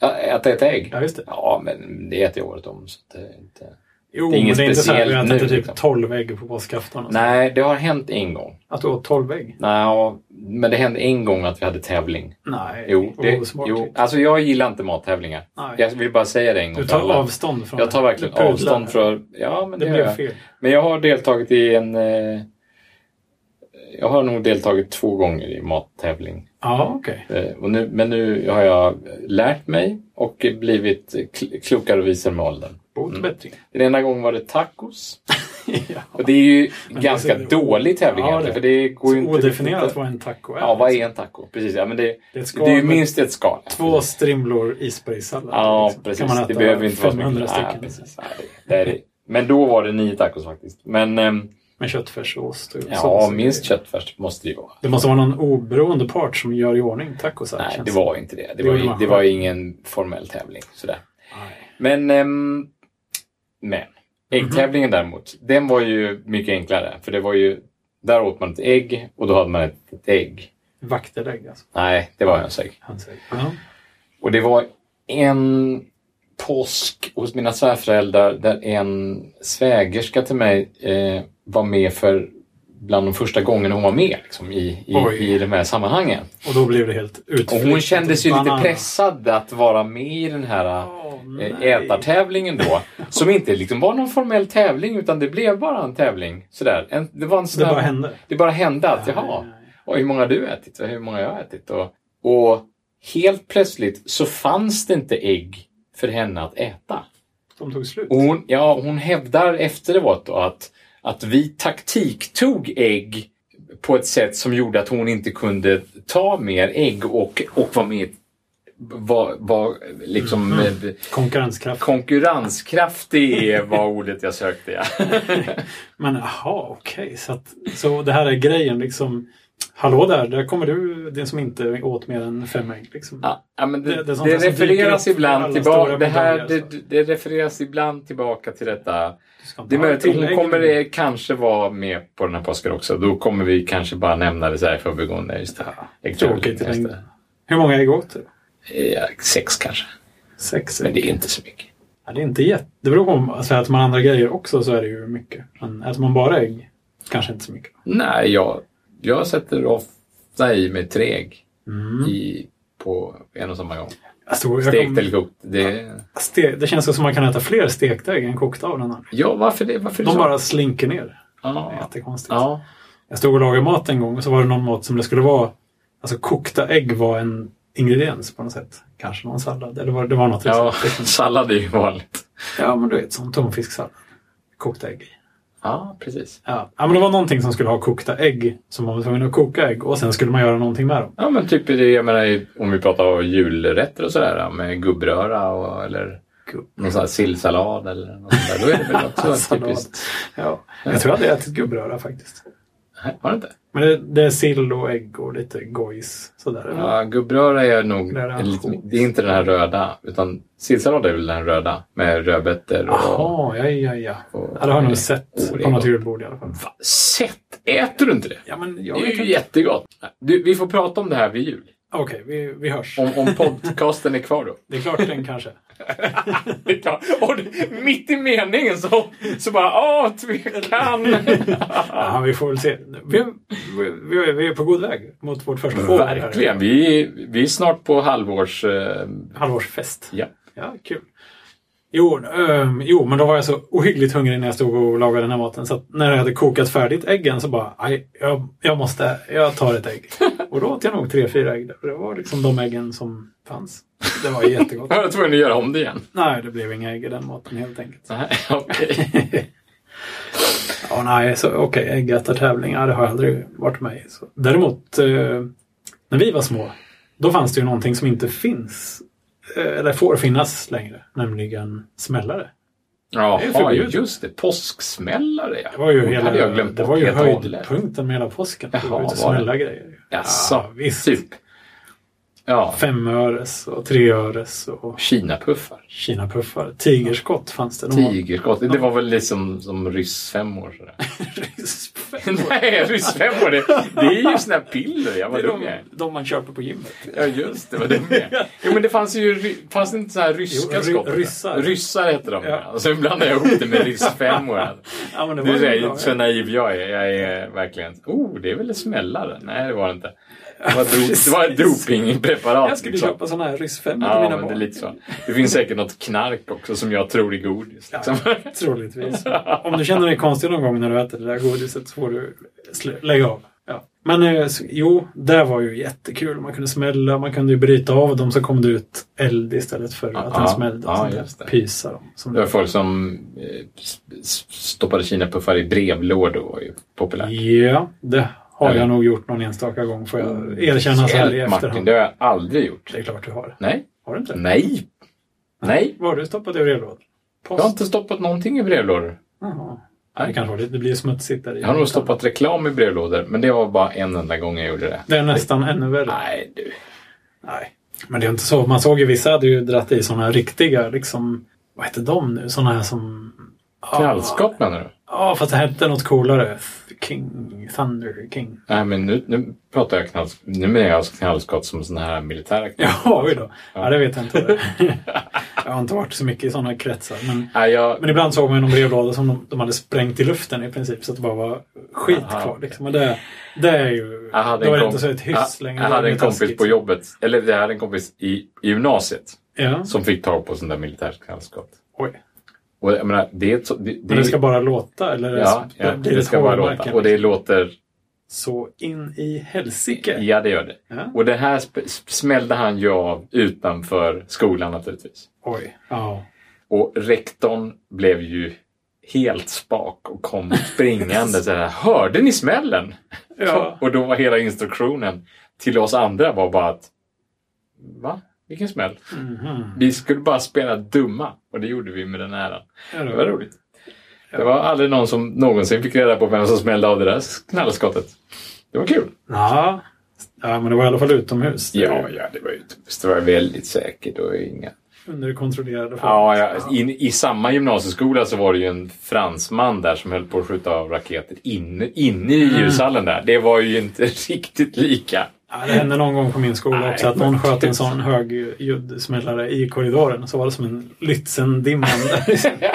Ja, Att äta ägg?
Ja, just det.
Ja, men det äter jag året om. Så att det är inte...
Jo,
Det är
men
inget
det är inte så här att
speciellt
du äter
nu,
typ
liksom.
12 ägg på påskafton. och så.
Nej, det har hänt en gång.
Att du åt 12 ägg?
Nej, men det hände en gång att vi hade tävling.
Nej,
Jo, det,
osmakligt.
jo. Alltså jag gillar inte mattävlingar.
Nej.
Jag vill bara säga det en gång
Du
för
tar
alla.
avstånd från
Jag tar
det.
verkligen
Du pudlar.
avstånd från... Ja, men det,
Det
gör
blev
jag.
fel.
Men jag har deltagit i en... Eh, jag har nog deltagit två gånger i mattävling.
Ja, okej.
Eh, och nu, men nu har jag lärt mig och blivit kl- klokare och visare med åldern.
Bot och bättring.
Den ena gången var det tacos.
ja.
Och det är ju
det
ganska
är så-
dålig tävling
Ja,
egentligen.
det-
För det går
Så
ju inte...
odefinierat
riktigt att-
vad en taco är.
Ja, vad är en taco? Precis, ja, men det,
Det är ett skal
det är ju
med
minst ett skal.
Två strimlor isbergssallad.
Ja,
liksom.
precis.
Kan man äta
det behöver inte vara så mycket.
500
Nej,
stycken.
precis. Nej, det, det är det. Men då var det nio tacos faktiskt. Men ehm,
Med köttfärs och ost. och
ja,
sås.
minst köttfärs måste det ju vara.
Det måste vara någon oberoende part som gör i ordning tacosar.
Nej,
känns
det var inte det. Det
Det
var,
gjorde
ju-
man
det
själv.
var ingen formell tävling. Sådär.
Nej.
Men, ehm, men.
Mhm.
Äggtävlingen däremot, den var ju mycket enklare. För det var ju, där åt man ett ägg och då hade man ett, ett ägg.
Vaktelägg alltså.
Nej, det var hönsägg.
Hönsägg. Ja.
Och det var en påsk hos mina svärföräldrar där en svägerska till mig eh, var med för bland de första gångerna hon var med liksom, i, i,
Oj.
i de här sammanhangen.
Och då blev det helt
Och
utflyttat.
hon kändes ju lite
Banan.
pressad att vara med i den här
Åh,
eh,
nej.
ätartävlingen då. Som inte liksom var någon formell tävling utan det blev bara en tävling. Sådär. En, det, var en
Det
sån här-
bara hände.
det bara hände att
Ja,
jaha,
ja,
och hur många har du ätit och hur många jag har ätit. Och, och helt plötsligt så fanns det inte ägg för henne att äta.
De tog slut.
Och hon, ja, hon hävdar efteråt då att, att vi taktiktog ägg på ett sätt som gjorde att hon inte kunde ta mer ägg och, och var med var, var liksom
Mm-hmm.
eh,
Konkurrenskraft.
konkurrenskraftig var ordet jag sökte. Ja.
Men jaha, okej. Så, att- så det här är grejen liksom. Hallå där, där kommer du, den som inte åt mer än fem ägg. Liksom.
Ja, ja, men det,
Det-
det,
det är sånt där som
refereras
dyker upp på alla
ibland
stora
tillbaka. Det, här,
medaljer,
det,
så.
det refereras ibland tillbaka till detta.
Du ska inte
Det är
ha
möjligt att hon
tillägg.
kommer eh, kanske vara med på den här påsken också. Då kommer vi kanske bara nämna det så här i förbigående. Just det.
Tråkigt i längden. Hur många ägg åt du?
Ja, sex kanske.
Sex
Men
ägg.
det är inte så mycket.
Ja, det är inte jätte... Det beror på om alltså, äter man andra grejer också så är det ju mycket. Men äter man bara ägg, kanske inte så mycket.
Nej, jag, jag sätter ofta i mig tre ägg
Mm.
i, på en och samma gång.
Alltså, jag
Stekt
kommer-
eller kokt. Det,
Ste- det känns som att man kan äta fler stekta ägg än kokta av den här.
ja, varför det? Varför det
De
så?
bara slinker ner. Det är
ja.
jättekonstigt.
Ja.
Jag stod och lagade mat en gång och så var det någon mat som det skulle vara... Alltså kokta ägg var en ingrediens på något sätt. Kanske någon sallad eller var, det var något.
ja,
recept.
sallad är ju vanligt.
ja men du vet, som tonfisksallad. Kokta ägg i.
Ja, precis.
Ja. ja, men det var någonting som skulle ha kokta ägg. Som man var tvungen att koka ägg och sen skulle man göra någonting med dem.
Ja, men typ det, jag menar, om vi pratar om julrätter och sådär med gubbröra och, eller
Gubb-
någon sån här sillsallad eller något sånt där. Då är det väl också
Sallad.
typiskt.
Alltså, Ja. Jag tror jag hade ätit gubbröra faktiskt.
Nej, Har du inte?
Men det, det är sill och ägg och lite gojs. Sådär.
Ja, gubbröra är nog...
Det är det här
en lite,
sjukt.
det är inte den här röda, utan sillsallad är väl den röda med rödbetor och...
Jaha, ja, ja, ja.
och-
Ja, det har jag nog sett
Oh, det är
på något
gott.
julbord i alla fall.
Va? Sett? Äter du inte det?
Ja, men
Det
jag
är
vet
ju
inte.
jättegott. Du, vi får prata om det här vid jul.
Okej, vi, vi hörs.
Om, om podcasten är kvar då.
Det är klart den kanske.
Det är klart. Och det- mitt i meningen så, så bara, åh, tvekan!
Ja, vi får väl se. Vi, vi, vi, vi är på god väg mot vårt första år. här.
Verkligen. Vi, vi är snart på halvårs... eh,
Halvårsfest.
ja.
Ja, kul. Jo, ehm, jo, men då var jag så ohyggligt hungrig när jag stod och lagade den här maten. Så att när jag hade kokat färdigt äggen så bara, "Aj, jag, jag måste, jag tar ett ägg. Och då åt jag nog tre, fyra ägg. där. Och Det var liksom de äggen som fanns. Det var jättegott.
Jag var tvungen att göra om det igen.
Nej, det blev inga ägg i den maten helt enkelt.
Nej, okej.
Ja, nej, så okej, äggätartävlingar det har jag aldrig varit med i. Så. Däremot, eh, när vi var små, då fanns det ju någonting som inte finns, eh, eller får finnas längre, nämligen smällare. Det är
Jaha,
förbjudet.
just det. Påsksmällare, ja.
Det var ju,
Det
hela,
hade jag glömt
det
bort
var ju
helt och hållet.
höjdpunkten med hela påsken.
Jaha,
Jaha, var ute och
var det?
smälla grejer.
Jaså,
Ja, visst.
Typ. Ja,
Femöres och treöres och
Kinapuffar.
kinapuffar. Tigerskott fanns det. De var-
Tigerskott. Det var väl liksom som ryssfemmor sådär.
Ryssfemmor.
Nej, ryssfemmor, det, det är ju såna här piller. Jag
Det
var
är
dum jag
de,
är.
de man köper på gymmet.
Ja, just det. Vad dum jag är. Jo, men det fanns ju ry- fanns det inte så här ryska
Jo, ry-
skott.
ryssar.
Ryssar heter de.
Ja.
Ja. Alltså, ibland jag ihop det med ryssfemmor.
Ja, men det
Nu
var
är
ju
jag
bra.
så naiv jag är. Jag är verkligen... Oh, det är väl smällare? Nej, det var det inte. Det var, dro- det var ett
Precis.
dopingpreparat.
Jag skulle
liksom.
köpa sådana här ryssfemmor till
Ja,
mina
men det är
barn.
lite så. Det finns säkert något knark också som jag tror är godis. Liksom.
Troligtvis. Om du känner dig konstig någon gång när du äter det där godiset så får du sl- lägga av. Ja. Men eh, så- jo, det var ju jättekul. Man kunde smälla, man kunde ju bryta av dem så kom det ut eld istället för att den
Ja,
smällde.
ja,
Sånt där.
Ah, just det.
Pysa dem. Som
Det var folk som eh, s- s- stoppade kinapuffar i brevlådor var ju populärt.
Ja, det har
Eller?
jag nog gjort någon enstaka gång får jag erkänna så här i
Mm. Hjälp, Martin,
efterhand.
det har jag aldrig gjort.
Det är klart du har.
Nej.
Har du inte?
Nej. Nej.
Vad har du stoppat i brevlådan?
Jag har
Post?
inte stoppat någonting i brevlådor.
Jaha. Ja, det kanske var det. Det blir ju smutsigt där i.
Jag har nog stoppat reklam i brevlådor, men det var bara en enda gång jag gjorde det.
Det är nästan ännu värre.
Nej, du.
Nej, men det är inte så. Man såg ju vissa hade ju dratt i sådana riktiga, liksom, vad hette de nu? Sådana här som... Ja.
Knallskott menar du?
Ja, fast det hette något coolare. King, Thunder King.
Nej, men nu, nu pratar jag knallskott. Nu menar jag alltså knallskott som sådana här militära knallskott.
Ja, oj då. Ja, det vet jag inte. jag har inte varit så mycket i sådana kretsar. Men,
Nej, jag...
men ibland såg man ju någon brevlåda som de, de hade sprängt i luften i princip. Så att det bara var skit
Aha,
kvar.
okej.
Liksom. Och det, det är ju...
Jag hade en
då är det
kom-
inte så ett hyss
jag,
längre.
jag
Det är
hade en
ju
kompis
taskigt.
på jobbet, eller jag hade en kompis i, i gymnasiet
Ja.
som fick tag på sån där militärt knallskott.
Oj.
Och jag menar, det är ett så- det, det,
Men det ska bara låta? Eller
ja, ja,
blir ett liksom.
det ska bara låta.
hårmärke,
Och det låter...
Så in i helsike.
Ja, det gör det.
Ja.
Och det här sp- sp- smällde han ju av utanför skolan naturligtvis.
Oj. Ja.
Och rektorn blev ju helt spak och kom springande så här. Hörde ni smällen?
Ja.
Och då var hela instruktionen till oss andra var bara att Va? Vilken smäll? Vi skulle bara spela dumma och det gjorde vi med den äran.
Ja,
Det var roligt. Det var aldrig någon som någonsin fick reda på vem som smällde av det där knallskottet. Det var kul.
Ja. ja, men det var i alla fall utomhus. Det
Ja, ja det var ju det var väldigt säkert och inga...
Under kontrollerade
Ja, ja. In, I samma gymnasieskola så var det ju en fransman där som höll på att skjuta av raketer inne, inne i ljushallen där. Det var ju inte riktigt lika.
Ja, det hände någon gång på min skola
Nej,
också att någon
men
sköt en
tusan.
sån hög ljudsmällare i korridoren. Så var det som en Lützendimman. Nej,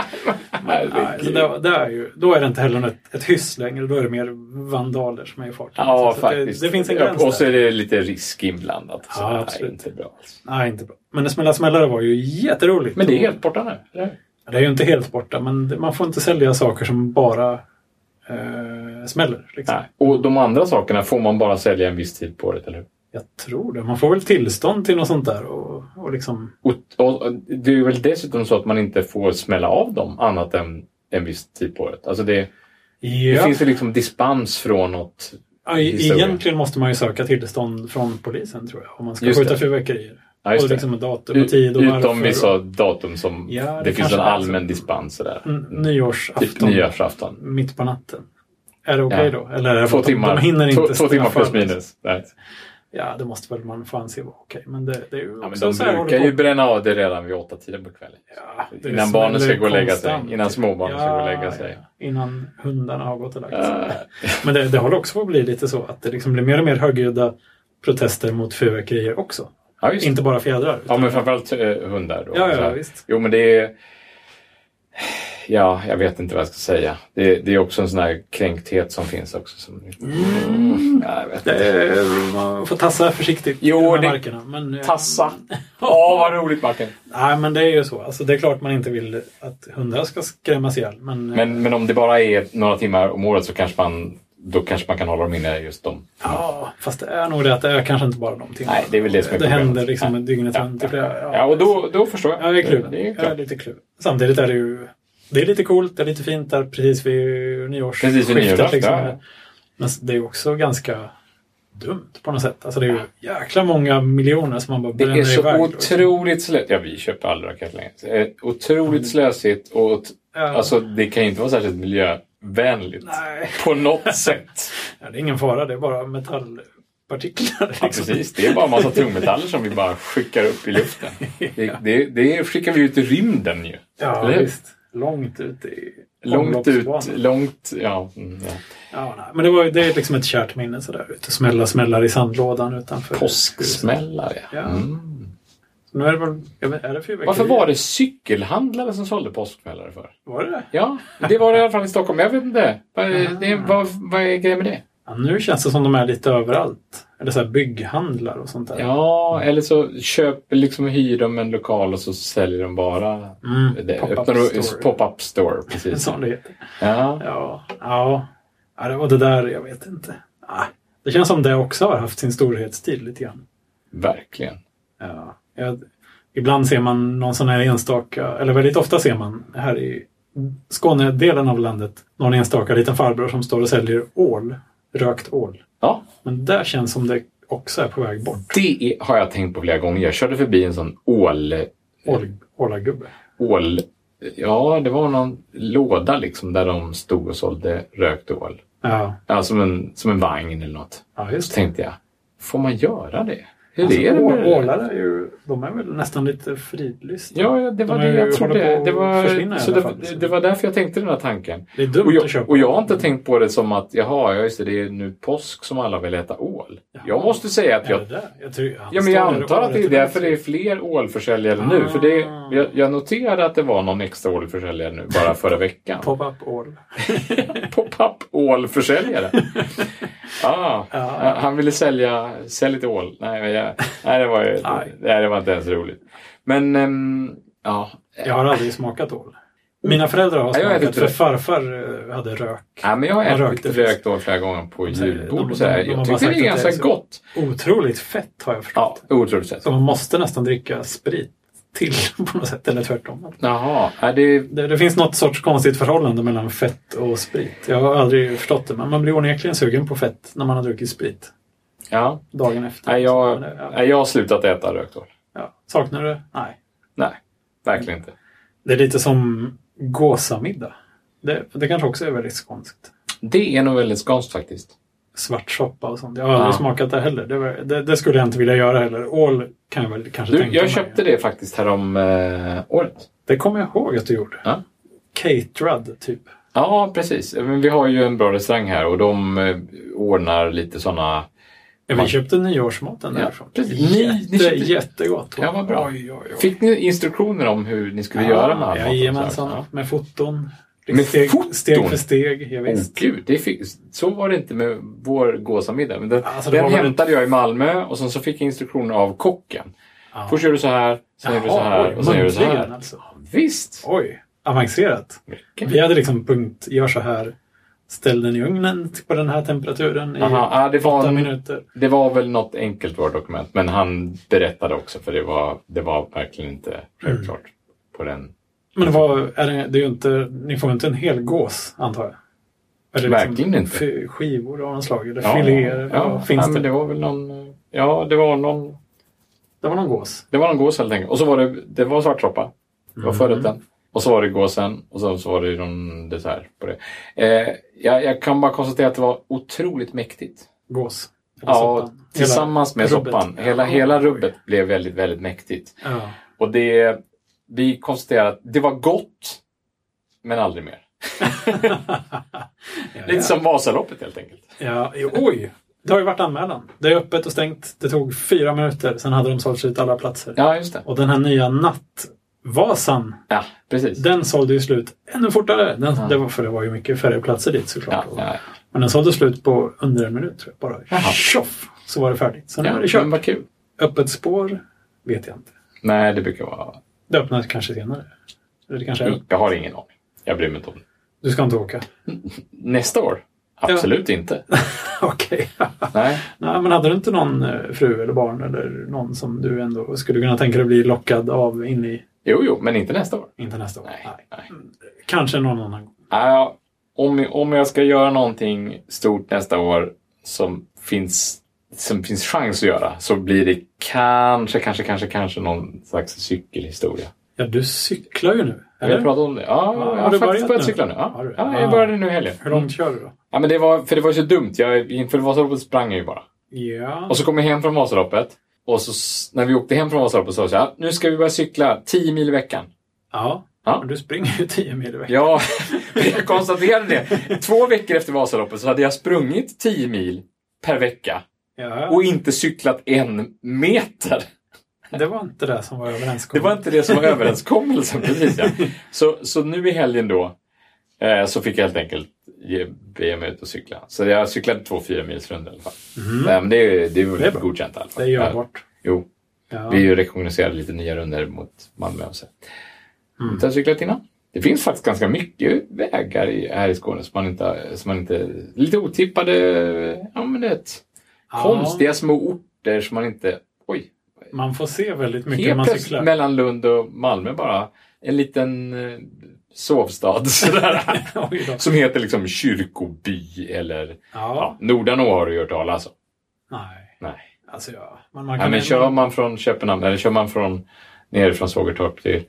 så
Herregud.
det, det är ju, då är det inte heller ett, ett hyss längre. Då är det mer vandaler som är i farten.
Ja,
Så att
faktiskt.
Det, det finns en
Ja,
gräns
Och så
där.
är det lite risk inblandat. och
Ja,
sådär.
absolut.
Nej, inte bra alls.
Nej, inte bra. Men det smälla smällare var ju jätteroligt.
Men det är helt borta nu. eller hur?
Det är ju inte helt borta, men det, man får inte sälja saker som bara eh, smäller. Liksom.
Nej. Och de andra sakerna får man bara sälja en viss tid på året, eller hur?
Jag tror det. Man får väl tillstånd till något sånt där. Och, och liksom,
Och, och, och det är väl dessutom så att man inte får smälla av dem annat än en viss tid på året. Alltså det, det
ja.
finns ju liksom dispens från något.
Ja, e-
historia.
egentligen måste man ju söka tillstånd från polisen tror jag. Om man ska
Just
skjuta
det.
fyrverkerier.
Ja, just
och
det.
liksom ett datum och tid och
Utom
varför
vissa
och
datum som
Ja, det
det, finns
kanske Mm.
en
är så.
allmän dispens. Sådär.
n-
Typ
nyårsafton.
nyårsafton.
Mitt på natten. Är det okej
Ja.
då? Eller är det
Två
att de,
timmar,
de hinner inte
två, två timmar
straffa
plus
det?
minus. Nej.
Ja, det måste väl man få anse vara okej. Men det, det är ju
Ja, men
också
de
så här
brukar
håller
ju
på-
bränna av det redan vid åtta tiden på kvällen.
Ja, det
innan
smäller
barnen ska gå och lägga sig.
konstant.
Innan småbarnen ska gå och lägga sig.
ja. Innan hundarna har gått och lagt sig.
Ja.
Men det, det håller också på att bli lite så att det liksom blir mer och mer högljudda protester mot fyrverkerier också.
Ja, just det.
Inte bara fjädrar.
Ja,
utan-
men framförallt eh, hundar. Då.
Ja, ja,
Så här.
visst.
Jo, men det är... Ja, jag vet inte vad jag ska säga. Det, det är också en sån här kränkthet som finns också. Som...
Mm.
Ja, jag vet inte.
Eh, Man får tassa försiktigt
Jo,
med
det-
markerna. Men, eh,
Tassa! Ja, vad roligt Martin!
Nej, men det är ju så. Alltså, det är klart man inte vill att hundar ska skrämmas ihjäl. Men, eh,
Men, men om det bara är några timmar om året så kanske man, då kanske man kan hålla dem inne just dem.
ja, fast det är nog det att det är kanske inte bara de timmarna.
Nej, det är väl det som är
Det
problemet.
händer liksom dygnet
Ja,
runt. i flera-
Ja, och då, då förstår jag.
Ja, jag är kluven.
Det är
jag är
klart.
lite kluven. Samtidigt är det ju... Det är lite coolt, det är lite fint där precis vid
Precis vid
nyårsskiftet.
nyårsafton,
Liksom.
ja.
Men det är ju också ganska dumt på något sätt. Alltså det är ju jäkla många miljoner som man bara
Det
bränner
är
iväg.
så
då, liksom.
otroligt slösigt. Ja, vi köper aldrig raketer längre. Det är Otroligt slösigt och ot-
Ja.
alltså, det kan ju inte vara särskilt miljövänligt.
Nej.
På något sätt.
Ja, det är ingen fara, det är bara metallpartiklar. Liksom.
Ja, precis. Det är bara en massa tungmetaller som vi bara skickar upp i luften. Det, det, det skickar vi ut i rymden ju.
Ja,
Eller hur?
visst. Långt ut i
Långt ut,
omloppsbanan.
långt... Ja, mm, ja.
Ja, nej. Men det, var, ju- det är liksom ett kärt minne sådär. Ut och smälla smällar i sandlådan utanför.
Påsksmällar, ja.
Ja.
Mm.
Nu är det väl... jag vet- Är det fyrverkerier?
Varför var det cykelhandlare som sålde påsksmällare för?
Var det det?
Ja, det var det i alla fall i Stockholm. Jag vet inte. Vad är, det, vad, vad är grejen med det?
Ja, nu känns det som de är lite överallt. Eller så här bygghandlar och sånt där.
Ja, eller så köper, liksom hyr de en lokal och så säljer de bara
Mm,
det.
pop-up
Öppnar du-
store.
Pop-up store.
En
Precis.
sån det heter.
Ja.
Ja. Ja. ja. det- Och det där, jag vet inte. Ah, Det känns som det också har haft sin storhetstid lite grann.
Verkligen.
Ja. Jag, ibland ser man någon sån här enstaka, eller väldigt ofta ser man här i Skånedelen av landet, någon enstaka liten farbror som står och säljer ål. Rökt ål.
Ja,
Men där känns som det också är på väg bort.
det är, har jag tänkt på flera gånger. Jag körde förbi en sån ål...
Ål, ålagubbe.
ål ja, det var någon låda liksom där de stod och sålde rökt ål.
Ja.
Ja, som en, som en vagn eller något.
ja,
Så
just det.
tänkte jag, får man göra det? Hur
Alltså,
är det med
å-
det där?
Ålar är ju, de är väl nästan lite fridlysta.
Ja, ja, det var
De
det
är-
jag
håller
trodde.
på
Det
att
var,
försvinna i
så
alla
det,
fall.
det, det var därför jag tänkte den här tanken.
Det är dumt
Och
att
jag,
köpa.
och jag har inte tänkt på det som att jaha, ja, just det, det är nu påsk som alla vill äta ål. Jag måste säga att
Är
jag...
det där? Jag, tror, han
Ja, men jag
står där
antar att det är
året
därför det
runt.
är fler ålförsäljare nu. För det,
Ah.
jag, jag noterade att det var någon extra ålförsäljare nu bara förra veckan.
Pop-up ål.
Pop-up ålförsäljare. ah,
Ja.
Han ville sälja, sälj lite ål. Nej, men jag, nej, det var, ju-
Nej.
nej, det var inte ens roligt. Men ehm, ja,
Jag har aldrig smakat ål. Mina föräldrar har
Nej, Mm. jag äter
smakat,
inte
för
det.
farfar eh, hade rök.
Ja, men jag har
Man
ätit
rökte
lite
fisk.
rökt ål flera gånger på
säger- de-
julbord. och
de-
så här.
de har
Jag
bara
tyckte det
sagt
är
att
ganska
det är så.
gott.
Otroligt fett har jag förstått.
Ja, otroligt sett.
Så man måste nästan dricka sprit till på något sätt, eller tvärtom.
Jaha, ja, det,
Det, det finns något sorts konstigt förhållande mellan fett och sprit. Jag har aldrig förstått det, men man blir onekligen sugen på fett när man har druckit sprit.
ja.
Dagen efter.
Nej, jag,
Men, ja.
nej, jag har slutat äta rökt ål.
Ja. Saknar du det? Nej.
Nej, verkligen
Mm.
inte.
Det är lite som gåsamiddag. Det, det kanske också är väldigt skånskt.
Det är nog väldigt skånskt faktiskt.
svart soppa och sånt. Jag har aldrig
Ja.
smakat det heller. Det, var, det, det skulle jag inte vilja göra heller. Ål kan jag väl kanske
Du,
tänka
jag
mig.
köpte det faktiskt härom eh, året.
Det kommer jag ihåg att du gjorde.
Ja.
Caterad, typ.
Ja, precis. Men vi har ju en bra restaurang här och de eh, ordnar lite sådana...
Ja,
Man-
vi köpte nyårsmaten
Ja,
därifrån.
precis. Ni-
Jätte,
ni köpte-
Jättegott.
Ja, vad bra.
Oj, oj, oj.
Fick ni instruktioner om hur ni skulle göra med all maten?
Jajamensan,
Ja.
med foton.
Med
steg,
foton?
steg för steg, ja,
Åh,
visst.
gud, det fick, så var det inte med vår gåsamiddag. Men den
Alltså, det
den
var väl-
hämtade jag i Malmö och sen så fick jag instruktioner av kocken.
Ja.
Först gör du så här, sen gör du Oh. så
Jaha,
här
oj,
och sen gör du så
muntligen
här.
Alltså.
Visst!
Oj, avancerat. Vi hade liksom punkt, gör så här, ställ den i ugnen på den här temperaturen i
Aha, ja, det, var
åtta
en,
minuter.
det var väl något enkelt Word-dokument, men han berättade också för det var, det var verkligen inte självklart
Mm.
på den.
Men vad, är det, det är ju inte, ni får inte en hel gås, antar jag? Eller liksom
Verkligen inte.
fi- Skivor av något slag, eller
Ja,
filéer.
ja,
vad finns
nej,
det?
Men det
det?
var väl någon... Ja, det var någon,
var någon gås.
det var någon gås helt enkelt. Och så var det, det var svartsoppa. Det
Mm.
var förrätten. Och så var det gåsen och sen så var det ju någon dessert på det. Eh, jag, jag kan bara konstatera att det var otroligt mäktigt.
Gås. Eller
Ja,
soppan. Hela-
tillsammans med
rubbet.
soppan. Hela,
Ja.
hela rubbet blev väldigt, väldigt mäktigt.
Ja.
Och det, vi konstaterar att det var gott, men aldrig mer.
Ja,
Lite
ja.
som Vasaloppet helt enkelt.
Ja, jo, oj! Det har ju varit anmälan. Det är öppet och stängt. Det tog fyra minuter, sen hade de sålt ut alla platser.
Ja, just det.
Och den här nya nattvasan,
Ja, precis.
den sålde ju slut ännu fortare. Den, det var, för det var ju mycket färre platser dit
Ja,
såklart.
ja.
Men den sålde slut på under en minut tror jag. Bara
Jaha.
tjoff! Så var det färdigt. Så nu är det
ja,
kört.
men vad kul.
Öppet spår vet jag inte.
Nej, det brukar vara...
Det öppnas kanske senare. Eller det kanske är.
Jag har ingen aning. Jag bryr mig inte om det.
Du ska inte åka.
Nästa år? Absolut inte.
Okej.
Nej.
Nej, men hade du inte någon eh, fru eller barn eller någon som du ändå skulle kunna tänka dig bli lockad av in i
Jo, jo, men inte nästa år.
Inte nästa år?
Nej. Nej.
Kanske någon annan gång.
Ja, om, om jag ska göra någonting stort nästa år som finns, som finns chans att göra så blir det kanske, kanske, kanske, kanske någon slags cykelhistoria.
Ja, du cyklar ju nu.
Har vi pratat om det? Ja, jag har faktiskt
du börjat
börjat
nu?
cykla nu.
Har
Ja,
du?
ja jag
Ah.
började nu i helgen.
Hur långt kör du då?
Ja, men det var, för det var ju så dumt. Jag, inför Vasaloppet sprang jag ju bara.
Ja.
Och så kom jag hem från Vasaloppet. Och så s- när vi åkte hem från Vasaloppet så sa jag nu ska vi börja cykla 10 mil i veckan.
ja.
Ja.
Men Du springer ju 10 mil i veckan.
Ja, jag konstaterade det. Två veckor efter Vasaloppet så hade jag sprungit 10 mil per vecka
Ja.
och inte cyklat en meter.
Det var inte det som var
Det
överenskommet.
var inte det som var överenskommelsen precis. Ja. Så, så nu i helgen då eh, så fick jag helt enkelt ge, bege mig ut och cykla. Så jag cyklade två fyra mils rundor i alla fall. Nej, men det, är- det är
Mhm. Det är
väl
bra.
godkänt i alla fall.
Det är
Ja,
görbart.
Jo,
Ja.
vi rekognoserade lite nya runder mot Malmö. Och så.
Mm.
Inte har cyklat innan. Det finns faktiskt ganska mycket vägar i, här i Skåne som man inte... Som man inte lite otippade, ja men det är ett,
Ja.
konstiga små orter som man inte... Oj!
Man får se väldigt mycket när
Helt
man
plötsligt
cyklar.
mellan Lund och Malmö bara en liten eh, sovstad sådär,
Oj då.
som heter liksom Kyrkoby eller ja,
Ja.
Nordanå har du ju hört talas om.
Nej.
Nej.
Alltså, ja. Men man
Ja,
kan
men kör man från Köpenhamn eller kör man från nerifrån Sågertorp till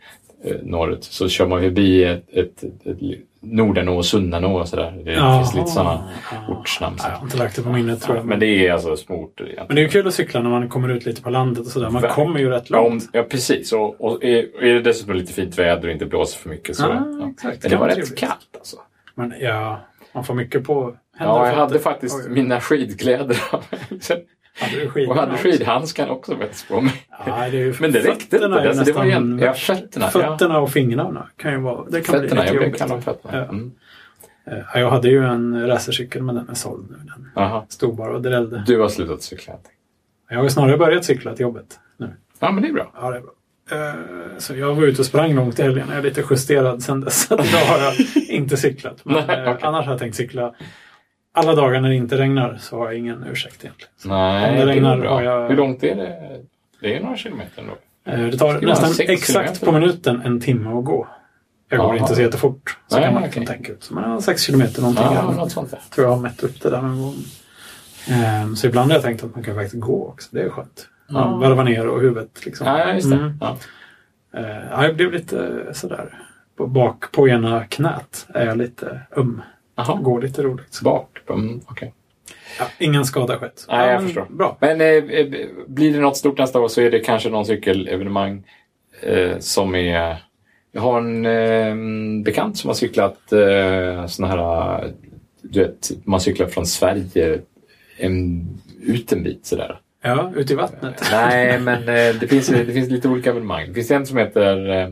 eh, norrut så kör man förbi ett, ett, ett, ett Nordanå och Sunnanå och sådär. Det
Jaha.
finns lite sådana
Ja.
ortsnamn.
Nej,
Så.
jag har inte lagt det på minnet tror jag.
Men det är alltså små orter egentligen.
Men det är ju kul att cykla när man kommer ut lite på landet och sådär. Man
Verkligen.
kommer ju rätt
Ja, om,
långt.
ja precis. Och, och är, är det dessutom lite fint väder och inte blåser för mycket så...
Ah,
ja.
exakt.
Men
Det
det
kan
var
vara
rätt
trevligt.
kallt alltså.
Men ja, man får mycket på händer
Ja,
och
jag
fötter.
hade faktiskt
Oj.
mina skidkläder av mig.
Hade du skidorna
Och hade
också?
skidhandskarna också faktiskt på mig.
Ja, det är ju,
Men det räckte inte.
fötterna är ju
Alltså, det var
nästan
igen, ja,
värst.
fötterna. ja.
Fötterna och fingrarna kan ju vara... Det kan
Fötterna,
bli
jag
lite
blev
jobbigt.
kallad fötterna.
Ja.
Mm.
Eh, Jag hade ju en racercykel men den är såld nu. Den
Aha.
stod bara och drällde.
Du har slutat cykla.
Jag har ju snarare börjat cykla till jobbet nu.
Ja, men det är bra.
Ja, det är bra. Eh, Så jag var ute och sprang långt i helgen. Jag är lite justerad sen dess. Så att idag har jag inte cyklat. Men
Nej,
eh,
okej.
annars har jag tänkt cykla. Alla dagar när det inte regnar så har jag ingen ursäkt egentligen.
Nej,
Om det
det,
regnar
är bra.
har jag-
Hur långt är det? Det är några kilometer ändå.
Eh, Det tar
Skulle vara
nästan
sex
exakt
kilometer.
på minuten en timme att gå. Jag går
Jaha.
inte så jättefort. Så
Nej,
kan man liksom
okej.
tänka ut. Så man har sex kilometer någonting.
Ja,
Jag
något sånt där.
tror jag har mätt upp det där någon gång. Ehm, Så ibland har jag tänkt att man kan faktiskt gå också. Det är skönt. Man
Ja.
varvar ner och huvudet liksom.
Mm. Ja, just det.
Mm.
Ja.
Eh, ja, jag blev lite eh, sådär. På, bak på ena knät är jag lite öm.
Jaha.
Går lite roligt.
Bak. Mm, okej.
Ja, ingen skada skett.
Nej, jag
men
förstår.
Bra.
Men eh, eh, blir det något stort nästa år så är det kanske någon cykelevenemang eh, som är... Jag har en eh, bekant som har cyklat eh, såna här... eh, Du vet, man cyklar från Sverige en, ut en bit sådär.
Ja, ute i vattnet.
Nej, men eh, det, finns, det finns lite olika evenemang. Det finns en som heter... Eh,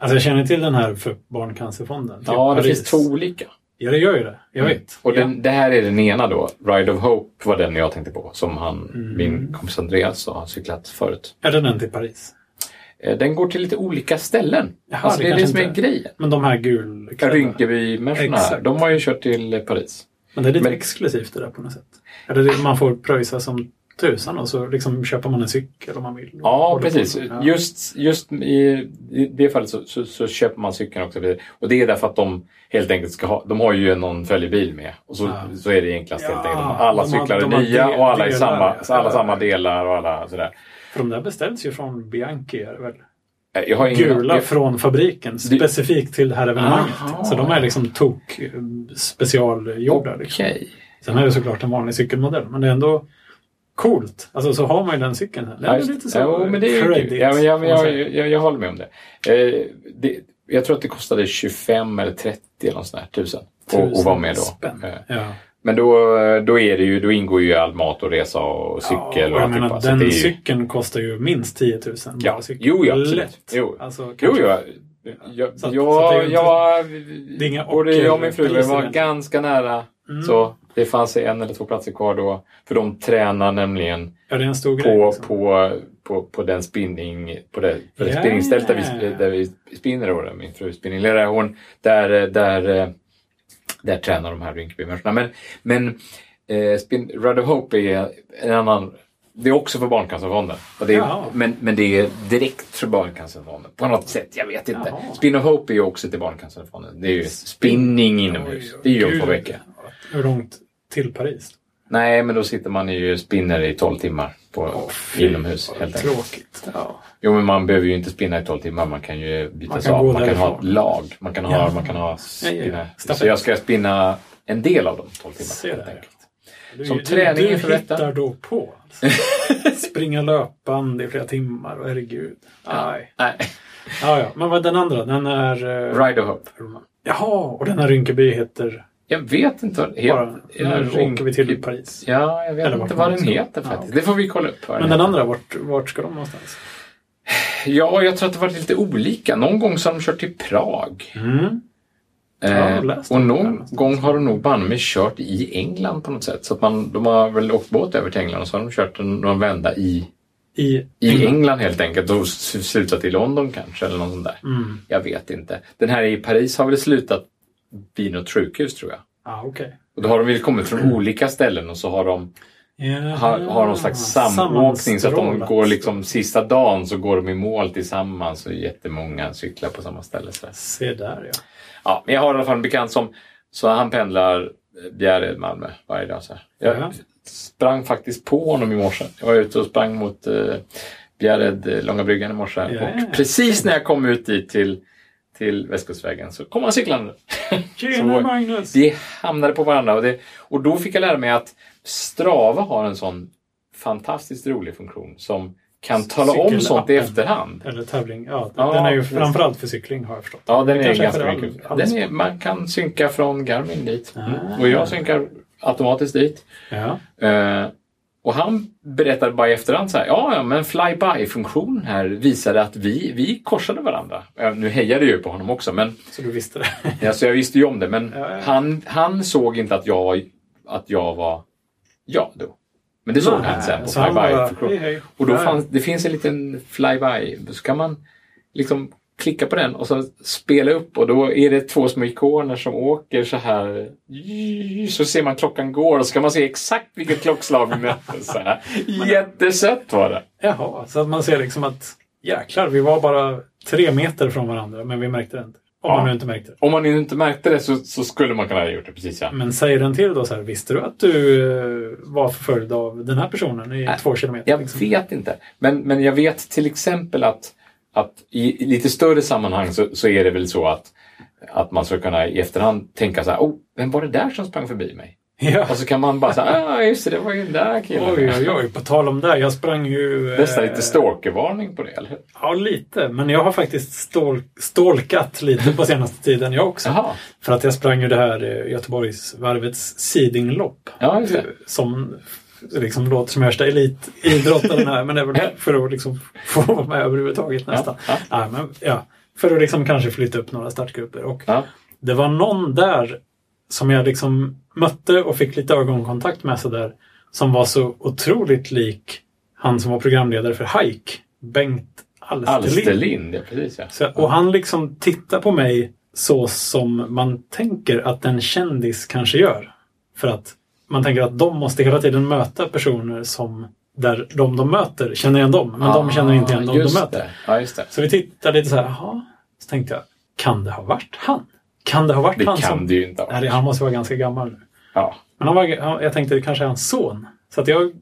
Alltså jag känner till den här för Barncancerfonden. till
ja, det
Paris.
finns två olika. Mm.
Ja, det gör ju det. Jag vet.
Och den, det här är den ena då. Ride of Hope var den jag tänkte på som han,
Mm.
min kompis Andreas har cyklat förut.
Är det den till Paris?
Eh, Den går till lite olika ställen.
Jaha,
alltså,
det
det är det
kanske
som är
inte-
grejen.
Men de här gulklädda.
Rinkeby-människorna här,
Exakt.
de har ju kört till eh, Paris.
Men det är lite
Men-
exklusivt det där på något sätt. Eller det, man får pröjsa som tusan och så liksom köper man en cykel om man vill.
Ja,
Och-
precis.
Ja.
Just, just i, i det fallet så, så, så köper man cykeln också. Och det är därför att de helt enkelt ska ha, de har ju någon följebil med. Och så,
Ja.
så är det enklast helt
Ja,
enkelt. Alla
de har-
cyklar är
de har
nya
del-
och alla är
delar, ja.
samma, så alla samma delar och alla sådär.
För de där beställs ju från Bianchi är det väl?
Eh, Jag har ingen,
Gula
jag,
från fabriken specifikt till det här evenemanget.
Aha.
Så de är liksom tok eh, specialgjorda. Liksom.
Okej.
Sen är det såklart en vanlig cykelmodell men det är ändå coolt. Alltså så har man ju den cykeln här. Det
Ja,
är
just-
lite så
jo, men det är ju
credit,
kul. ja, men jag,
får man
jag,
säga.
jag, jag, jag håller med om det. Eh, det. Jag tror att det kostade 25 eller 30 eller något sånt där, tusen. Och, och vara med då.
Spänn.
Eh,
Ja.
Men då, då, är det ju, då ingår ju all mat och resa och cykel
ja,
och
och jag
alltihopa.
menar,
så
den
det är ju-
cykeln kostar ju minst 10 000. bara
Ja,
cykeln.
jo, ja, absolut.
Lätt.
Jo.
Alltså,
Jo,
kanske-
jo. Jag,
Så att-
jag,
så att det är ju inte-
jag,
det är inga
både jag och min fru vi
ockerpriser
var
än.
ganska nära.
Mm.
Så det fanns en eller två platser kvar då. För de tränar nämligen
Ja, det är en stor grej.
på,
liksom.
på, på, på den spinning, på det, på det
Ja.
spinningstället där vi, där vi spinner, då, där min fru spinninglärare, hon, där, eh, där, eh, där tränar de här Rinkebymänniskorna. Men, men eh, spin, Ride of Hope är en annan, det är också för Barncancerfonden. Och det är,
Jaha.
men, men det är direkt för Barncancerfonden på något sätt, jag vet inte.
Jaha.
Spin of Hope är ju också till Barncancerfonden. Det är ju spinning inomhus, det är ju om två
Gud.
veckor.
Hur långt till Paris?
Nej, men då sitter man ju spinner i 12 timmar på, inomhus
Vad
helt enkelt.
Tråkigt. Ja.
Jo, men man behöver ju inte spinna i 12 timmar. Man kan ju byta
Man
man av.
kan gå
Man kan ha ett
därifrån.
lag. Man kan ha...
Ja.
Man kan ha
Ja, ja, ja.
spinna. Så
Stafett.
jag ska spinna en del av de 12 timmarna.
Se
helt
där,
enkelt.
Du,
Som
du,
träning
du
inför detta.
hittar då på. Alltså. Springa löpband i flera timmar och herregud. Aj.
Nej.
Ja, ja. Men vad är den andra? Den är... eh,
Ride of Hope.
Jaha, och den här Rinkeby heter
Jag vet inte vad... Helt,
bara...
jag typ-
Nu åker vi till Paris.
Ja, jag vet
Eller
inte
vart
vad
man
den
ska.
heter
Ja,
faktiskt.
okej.
Det får vi kolla upp. vad
Men den
heter.
andra, vart, vart ska de någonstans?
Ja, jag tror att det varit lite olika. Någon gång så har de kört till Prag. Eh,
Mm. Ja, jag har läst
och
om det här
någon
någonstans.
gång har de nog banne mig kört i England på något sätt. Så att man, de har väl åkt båt över till England och så har de kört en, någon vända i
I
I England helt enkelt och s- slutat i London kanske eller något sånt där.
Mm.
Jag vet inte. Den här i Paris har väl slutat vid något sjukhus tror jag.
Ah, okej.
Och då har de väl kommit från olika ställen och så har de har,
Ah,
har någon slags samåkning så att de
Sammanstrålat.
går liksom sista dagen så går de i mål tillsammans och jättemånga cyklar på samma ställe. Så där.
Se där ja.
ja, men jag har i alla fall en bekant som så han pendlar eh, Bjärred, Malmö varje dag. Så här. Jag
Ja.
sprang faktiskt på honom i morse. Jag var ute och sprang mot eh, Bjärred, eh, Långa bryggan i morse.
Ja.
Och precis när jag kom ut dit till, till Västkustvägen så kom han cyklande.
Tjena
Så-
Magnus!
Vi hamnade på varandra och, det, och då fick jag lära mig att Strava har en sån fantastiskt rolig funktion som kan tala om sånt i
Cykelappen.
efterhand.
Eller tävling. Ja,
Ja,
den är ju
just.
framförallt för cykling har jag förstått.
Ja, den
Det
är
kanske är för
ganska
all-
mycket.
all
Den är,
sport.
man kan synka från Garmin dit.
Ah.
Och jag synkar automatiskt dit.
Ja.
Eh, och han berättade bara i efterhand så här, ja, ja men fly-by-funktionen här visade att vi, vi korsade varandra. Eh, nu hejade jag ju på honom också, men
Så du visste det.
alltså, jag visste ju om det. Men
Ja, ja.
Han, han såg inte att jag, var- att jag var jag då. Men det såg han sen på
Så han bara, hej,
fly-by-funktionen.
hej.
Och då
Ja, ja.
fanns, det finns en liten fly-by, så kan man liksom klicka på den och så spela upp och då är det två små ikoner som åker så här. Så ser man klockan går och så kan man se exakt vilket klockslag vi mötte. Så här. Jättesött var det.
Jaha, så att man ser liksom att jäklar, vi var bara tre meter från varandra men vi märkte det inte. Om
Ja.
man nu inte märkte det.
Om man inte märkte det så, så skulle man kunna ha gjort det precis ja.
Men säger den till då så här, visste du att du eh, var förföljd av den här personen i två kilometer?
Äh, Jag
liksom?
vet inte. Men, men jag vet till exempel att, att i, i lite större sammanhang så, så är det väl så att, att man ska kunna i efterhand tänka så här, oh, vem var det där som sprang förbi mig?
Ja.
Och så kan man bara säga, ah just det, det var ju den där killen.
Oj, oj, oj. På tal om det. Jag sprang ju... eh,
Nästan lite stalkervarning på det, eller hur?
Ja, lite. Men jag har faktiskt stol- stalkat lite på senaste tiden jag också.
Jaha,
För att jag sprang ju det här eh, Göteborgsvarvets sidinglopp.
ja just det.
Som liksom låter som värsta elitidrottaren här. men det är väl för att liksom få vara med överhuvudtaget nästan.
Ja,
Nej, men, ja. För att liksom kanske flytta upp några startgrupper. Och
ja.
det var någon där som jag liksom mötte och fick lite ögonkontakt med sådär. Som var så otroligt lik han som var programledare för Hike, Bengt Alsterlind.
Alsterlind, ja precis ja.
Så, och han liksom tittar på mig så som man tänker att en kändis kanske gör. För att man tänker att de måste hela tiden möta personer som där de de möter känner igen dem, men de känner inte igen
Ah,
dem de
just
möter.
det. Ja, just det.
Så vi tittade lite så här, jaha. Så tänkte jag, kan det ha varit han? Kan det ha varit
Det
han
kan
som...
det ju inte ha
Nej,
varit.
han måste vara ganska gammal nu.
Ja.
Men han var, han- jag tänkte det kanske är hans son. Så att jag,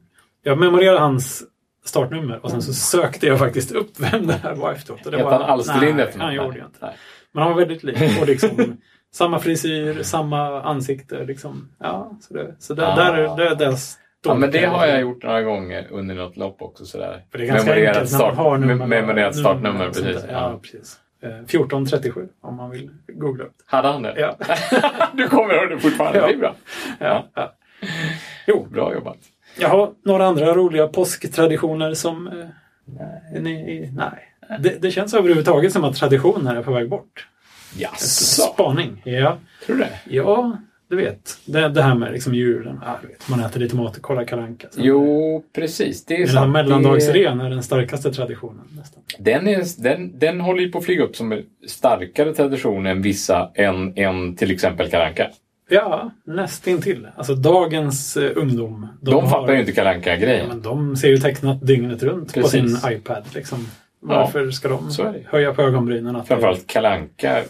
jag memorerade hans startnummer och sen så sökte jag faktiskt upp vem det här var efteråt. Och det
Hette
var-
han Alsterlind
Nej,
efternamn?
han gjorde jag inte.
Nej.
Men han var väldigt lik. Och liksom, samma frisyr, samma ansikte. Liksom. Ja, så det, så där,
Ah.
där, där, där
Ja, men det har jag gjort några gånger under något lopp också. Sådär.
För det är ganska
Memorerat
enkelt när man
start-
har nummer.
mem- Memorerat
nummer
startnummer,
och sånt
precis.
där. Ja,
Ja.
precis. Eh, 1437 om man vill googla upp det.
Hade han det?
Ja.
du kommer ihåg det fortfarande.
Ja.
Det är bra.
Ja, ja. Jo,
Bra jobbat.
jag har några andra roliga påsktraditioner som... Eh, nej. nej. Det, det känns överhuvudtaget som att traditioner är på väg bort.
Jaså?
Spaning. Ja.
Tror du det?
Ja, du vet. Det, det här med liksom julen. Ja, du vet. Man äter lite mat och kollar Kalle Anka. Så
Jo, precis. Det är
Den här
sant.
mellandagsrean är den starkaste traditionen. nästan.
Det- Den, är, den, den håller ju på att flyga upp som en starkare tradition än vissa, än, än till exempel Karanka.
Ja, nästintill. Alltså dagens eh, ungdom.
De, fattar ju inte Karanka
Ja,
grejen
men de ser ju tecknat dygnet runt på sin
Precis.
iPad. Liksom. Varför ska de
så är det.
höja på ögonbrynen? Att
Framförallt Kalanka.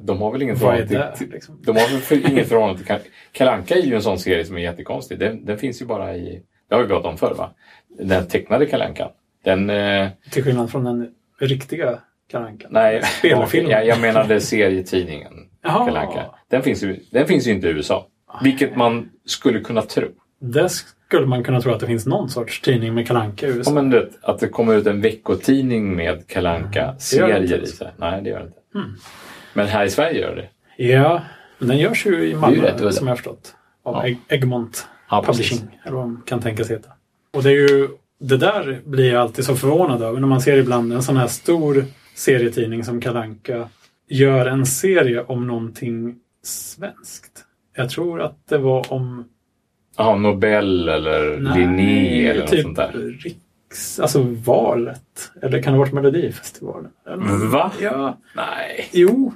De har väl ingen
Vad är
förhållande
det?
till...
Liksom?
De har väl för, inget förhållande till Kalle Kalanka är ju en sån serie som är jättekonstig. Den, den finns ju bara i... Det har vi pratat om förr va? Den tecknade Kalanka. Den... Eh,
Till skillnad från den riktiga Kalle Anka.
nej,
Spelfilm.
jag, jag menade serietidningen
Jaha.
Kalanka. Den finns, ju, den finns ju inte i USA. Vilket man skulle kunna tro.
Där skulle man kunna tro att det finns någon sorts tidning med Kalle Anka i USA.
Ja, men du vet, att det kommer ut en veckotidning med kalanka
gör det
serier
inte
i
Mm. alltså.
sig. Nej, det gör det inte. Men här i Sverige gör det
Ja, men den görs ju i
Det är ju rätt
Malmö
udda.
som jag har förstått. Av
Ja.
Egg- Egmont
Ja, precis.
Publishing, eller vad man kan tänkas heta. Och det är ju, det där blir jag alltid så förvånad över när man ser ibland en sån här stor serietidning som Kalle Anka gör en serie om någonting svenskt. Jag tror att det var om...
Ja, Nobel eller Linné eller
typ
något sånt där.
Riks, alltså valet. Eller kan det ha varit Melodifestivalen? Eller-
Va?
Ja.
Nej.
Jo,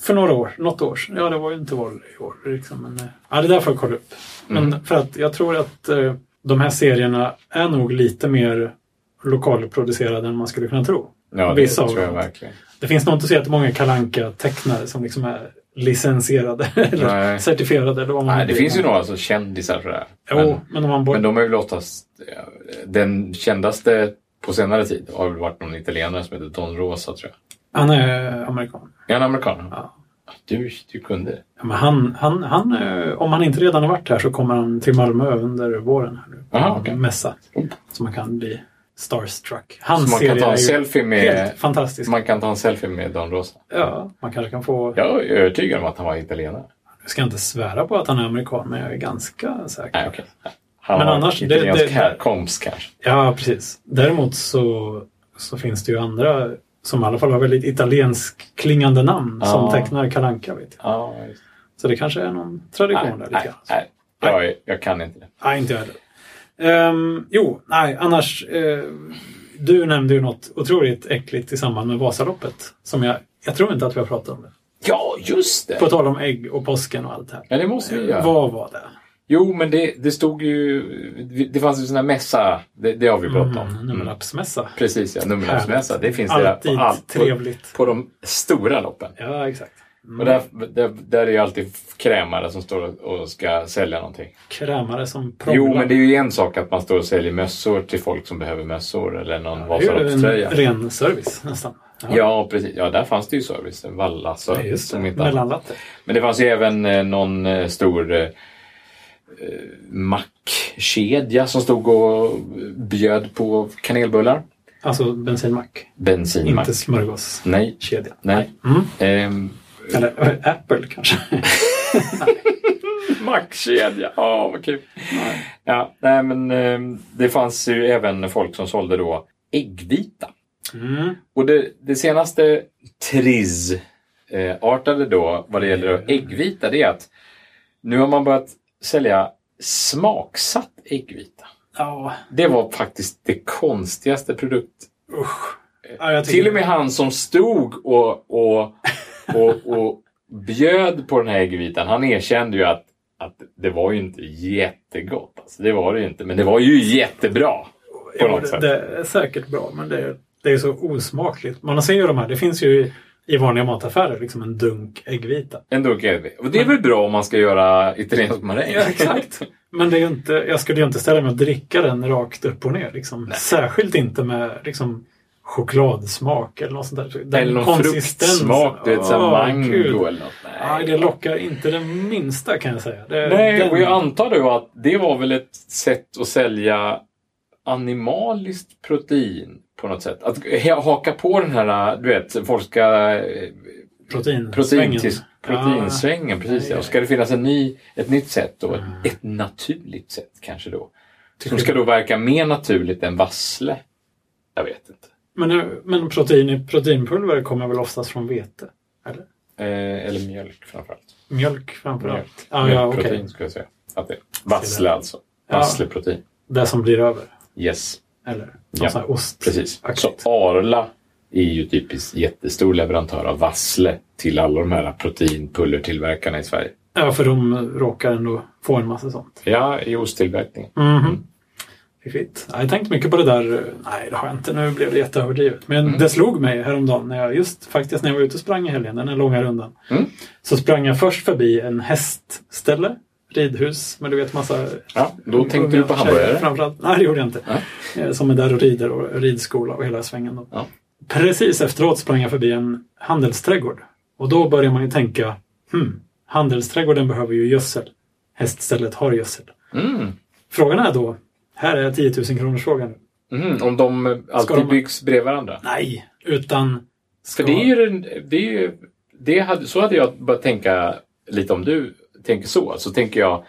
för några år. Något år sedan. Ja, det var ju inte val i år. Liksom, men, eh, ja, det där får jag kolla upp. Men
Mm.
för att jag tror att eh, de här serierna är nog lite mer lokalproducerade än man skulle kunna tro.
Ja, det
Vissa av
tror jag
dem.
verkligen.
Det finns nog inte så jättemånga kalanka tecknare som liksom är licensierade eller
Nej.
certifierade. Eller vad man
Nej, det
vill.
finns ju några alltså, kändisar sådär.
Mm. Jo,
Men,
men, om man bor...
men de är väl oftast... eh, Den kändaste på senare tid har väl varit någon italienare som heter Don Rosa, tror jag.
Han är amerikan.
Är han amerikan?
Ja.
Du, du kunde det.
Ja, men han, han, han, eh, om han inte redan har varit här så kommer han till Malmö under våren. Här nu, på
Aha,
en
okej.
Mässa. Så man kan bli starstruck. Hans
Så man kan
serie
ta en
är ju
selfie med-
helt fantastisk.
Man kan ta en selfie med Don Rosa.
Ja, man kanske kan få...
Jag är övertygad om att han var italienare.
Jag ska inte svära på att han är amerikan, men jag är ganska säker.
Nej, okej. Han
Men
har
annars, det-
italiensk
det-
härkomst kanske.
Ja, precis. Däremot så, så finns det ju andra som i alla fall har väldigt italiensk klingande namn som
Ja.
tecknar kalanka vet jag.
Ja, just det.
Så det kanske är någon tradition
nej,
där lite
nej,
grann.
nej. Jag, är- jag kan inte det.
Nej, inte jag heller. Ehm, jo, nej, annars. eh, du nämnde ju något otroligt äckligt i samband med Vasaloppet. Som jag, jag tror inte att vi har pratat om det.
Ja, just det!
På tal om ägg och påsken och allt det här.
Ja, det måste vi göra.
Vad var det?
Jo, men det, det stod ju... Det fanns ju sån här mässa. Det, det har vi pratat om.
Mm, nummerlappsmässa.
Precis, ja. Nummerlappsmässa. Det finns det
Alltid
där på, allt- på,
trevligt.
på de stora loppen.
Ja, exakt. Mm.
Och där, där, där är ju alltid krämare som står och- och ska sälja någonting.
Krämare som prånglar.
Jo, men det är ju en sak att man står och säljer mössor till folk som behöver mössor eller någon
Det är ju
Vasaloppströja.
en ren service nästan.
Ja, precis. Ja, där fanns det ju service. En Valla
Ja,
service.
just det.
som inte hade-
Mellanlatte.
Men det fanns ju även eh, någon eh, stor eh, eh, mackkedja som stod och eh, bjöd på kanelbullar.
Alltså bensinmack.
Bensinmack.
Inte smörgåskedja.
Nej. Nej.
Mm.
Ehm,
Eller äh, Apple kanske.
Mackkedja, ja vad kul. Ja, nej, men, eh, det fanns ju även folk som sålde då äggvita.
Mm.
Och det, det senaste Triz-artade då vad det gäller äggvita det är att nu har man börjat sälja smaksatt äggvita.
Ja,
Det var faktiskt det konstigaste produkt.
usch. Ja, jag tycker-
Till och med han som stod och, och, och, och bjöd på den här äggvitan, han erkände ju att, att det var ju inte jättegott. Alltså, det var det ju inte, men det var ju jättebra.
Jo,
något
det-
sätt.
Det är säkert bra, men det är, det är så osmakligt. Man ser ju de här, det finns ju i, i vanliga mataffärer liksom en dunk äggvita.
En dunk äggvita. Och det är väl bra om man ska göra italiensk maräng?
Men det är ju inte, jag skulle ju inte ställa mig och dricka den rakt upp och ner. Liksom. Särskilt inte med liksom, chokladsmak eller något sånt där. Den
eller någon
konsistensen.
fruktsmak, du vet, såhär
Åh, gud.
mango eller något.
Nej, det lockar inte det minsta kan jag säga. Det,
Nej,
den-
och jag antar då att det var väl ett sätt att sälja animaliskt protein på något sätt. Att ha- haka på den här, du vet, folk ska... eh,
protein,
Protein,
svängen. Ah.
proteinsvängen, precis.
Nej, Ah.
Ja. Och ska det finnas en ny, ett nytt sätt då, ett, ett naturligt sätt kanske då. Som
du?
ska då verka mer naturligt än vassle. Jag vet inte.
Men, eh, men protein, i- proteinpulver kommer väl oftast från vete? Eller?
Eh, eller mjölk framförallt.
Mjölk framförallt.
Mjölk.
Ah, Ja, ja, okej.
Mjölkprotein skulle jag säga. Att det, vassle alltså.
Ja.
Vassleprotein.
Det som blir över.
Yes.
Eller någon
Ja,
sån här ost.
Precis. Så
Aktigt.
Arla är ju typiskt jättestor leverantör av vassle till alla de här proteinpullertillverkarna i Sverige.
Ja, för de råkar ändå få en massa sånt.
Ja, i osttillverkningen.
Mhm. Fiffigt. Ja, Jag tänkte mycket på det där. Nej, det har jag inte. Nu blev det jätteöverdrivet. Men det slog mig häromdagen när jag just faktiskt när jag var ute och sprang i helgen, den här långa rundan.
Mm.
Så sprang jag först förbi en hästställe, ridhus, men du vet massa...
Ja,
Mm.
då tänkte du på
tjejer
hamburgare.
Framförallt. Nej, det gjorde jag inte. Eh, Som är där och rider och ridskola och hela svängen. Då.
Ja.
Precis efteråt sprang jag förbi en handelsträdgård. Och då börjar man ju tänka, hmm, handelsträdgården behöver ju gödsel. Häststället har gödsel.
Mm.
Frågan är då, här är 10 000 kronors frågan nu.
Mm. Om de eh, alltid
de-
byggs bredvid varandra.
Nej, utan...
För
Ska...
det är ju... den- Det är ju det hade, så hade jag börjat tänka lite om du tänker så. Så tänker jag,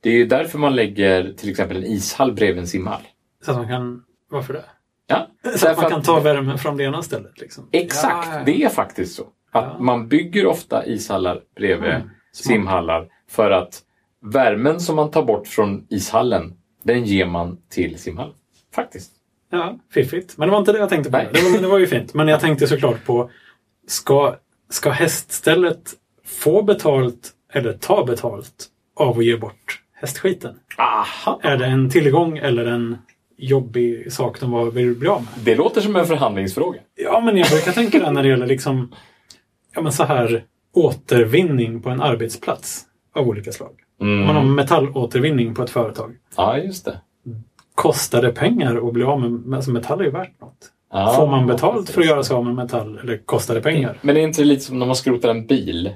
det är ju därför man lägger till exempel en ishall bredvid en simhall.
Så att man kan... Varför det?
Ja,
Så att
därför
man kan ta värmen från det ena stället. Liksom.
Exakt,
Ja, ja.
det är faktiskt så. Att
Ja.
man bygger ofta ishallar bredvid
Mm, smart.
simhallar för att värmen som man tar bort från ishallen, den ger man till simhallen. Faktiskt.
Ja, fiffigt. Men det var inte det jag tänkte på.
Nej.
Det var, det var ju fint. Men jag tänkte såklart på, ska, ska häststället få betalt eller ta betalt av att ge bort hästskiten?
Aha!
Är det en tillgång eller en jobbig sak de var- vill bli av med?
Det låter som en förhandlingsfråga.
Ja, men jag brukar tänka det när det gäller liksom, ja men så här, återvinning på en arbetsplats av olika slag. Om man har metallåtervinning på ett företag.
Ja, just det.
Kostar det pengar att bli av med, med alltså metall är ju värt något.
Ja,
Får man betalt
precis. Mm.
för att göra sig av med metall eller kostar det pengar?
Men det är inte det lite som när man skrotar en bil?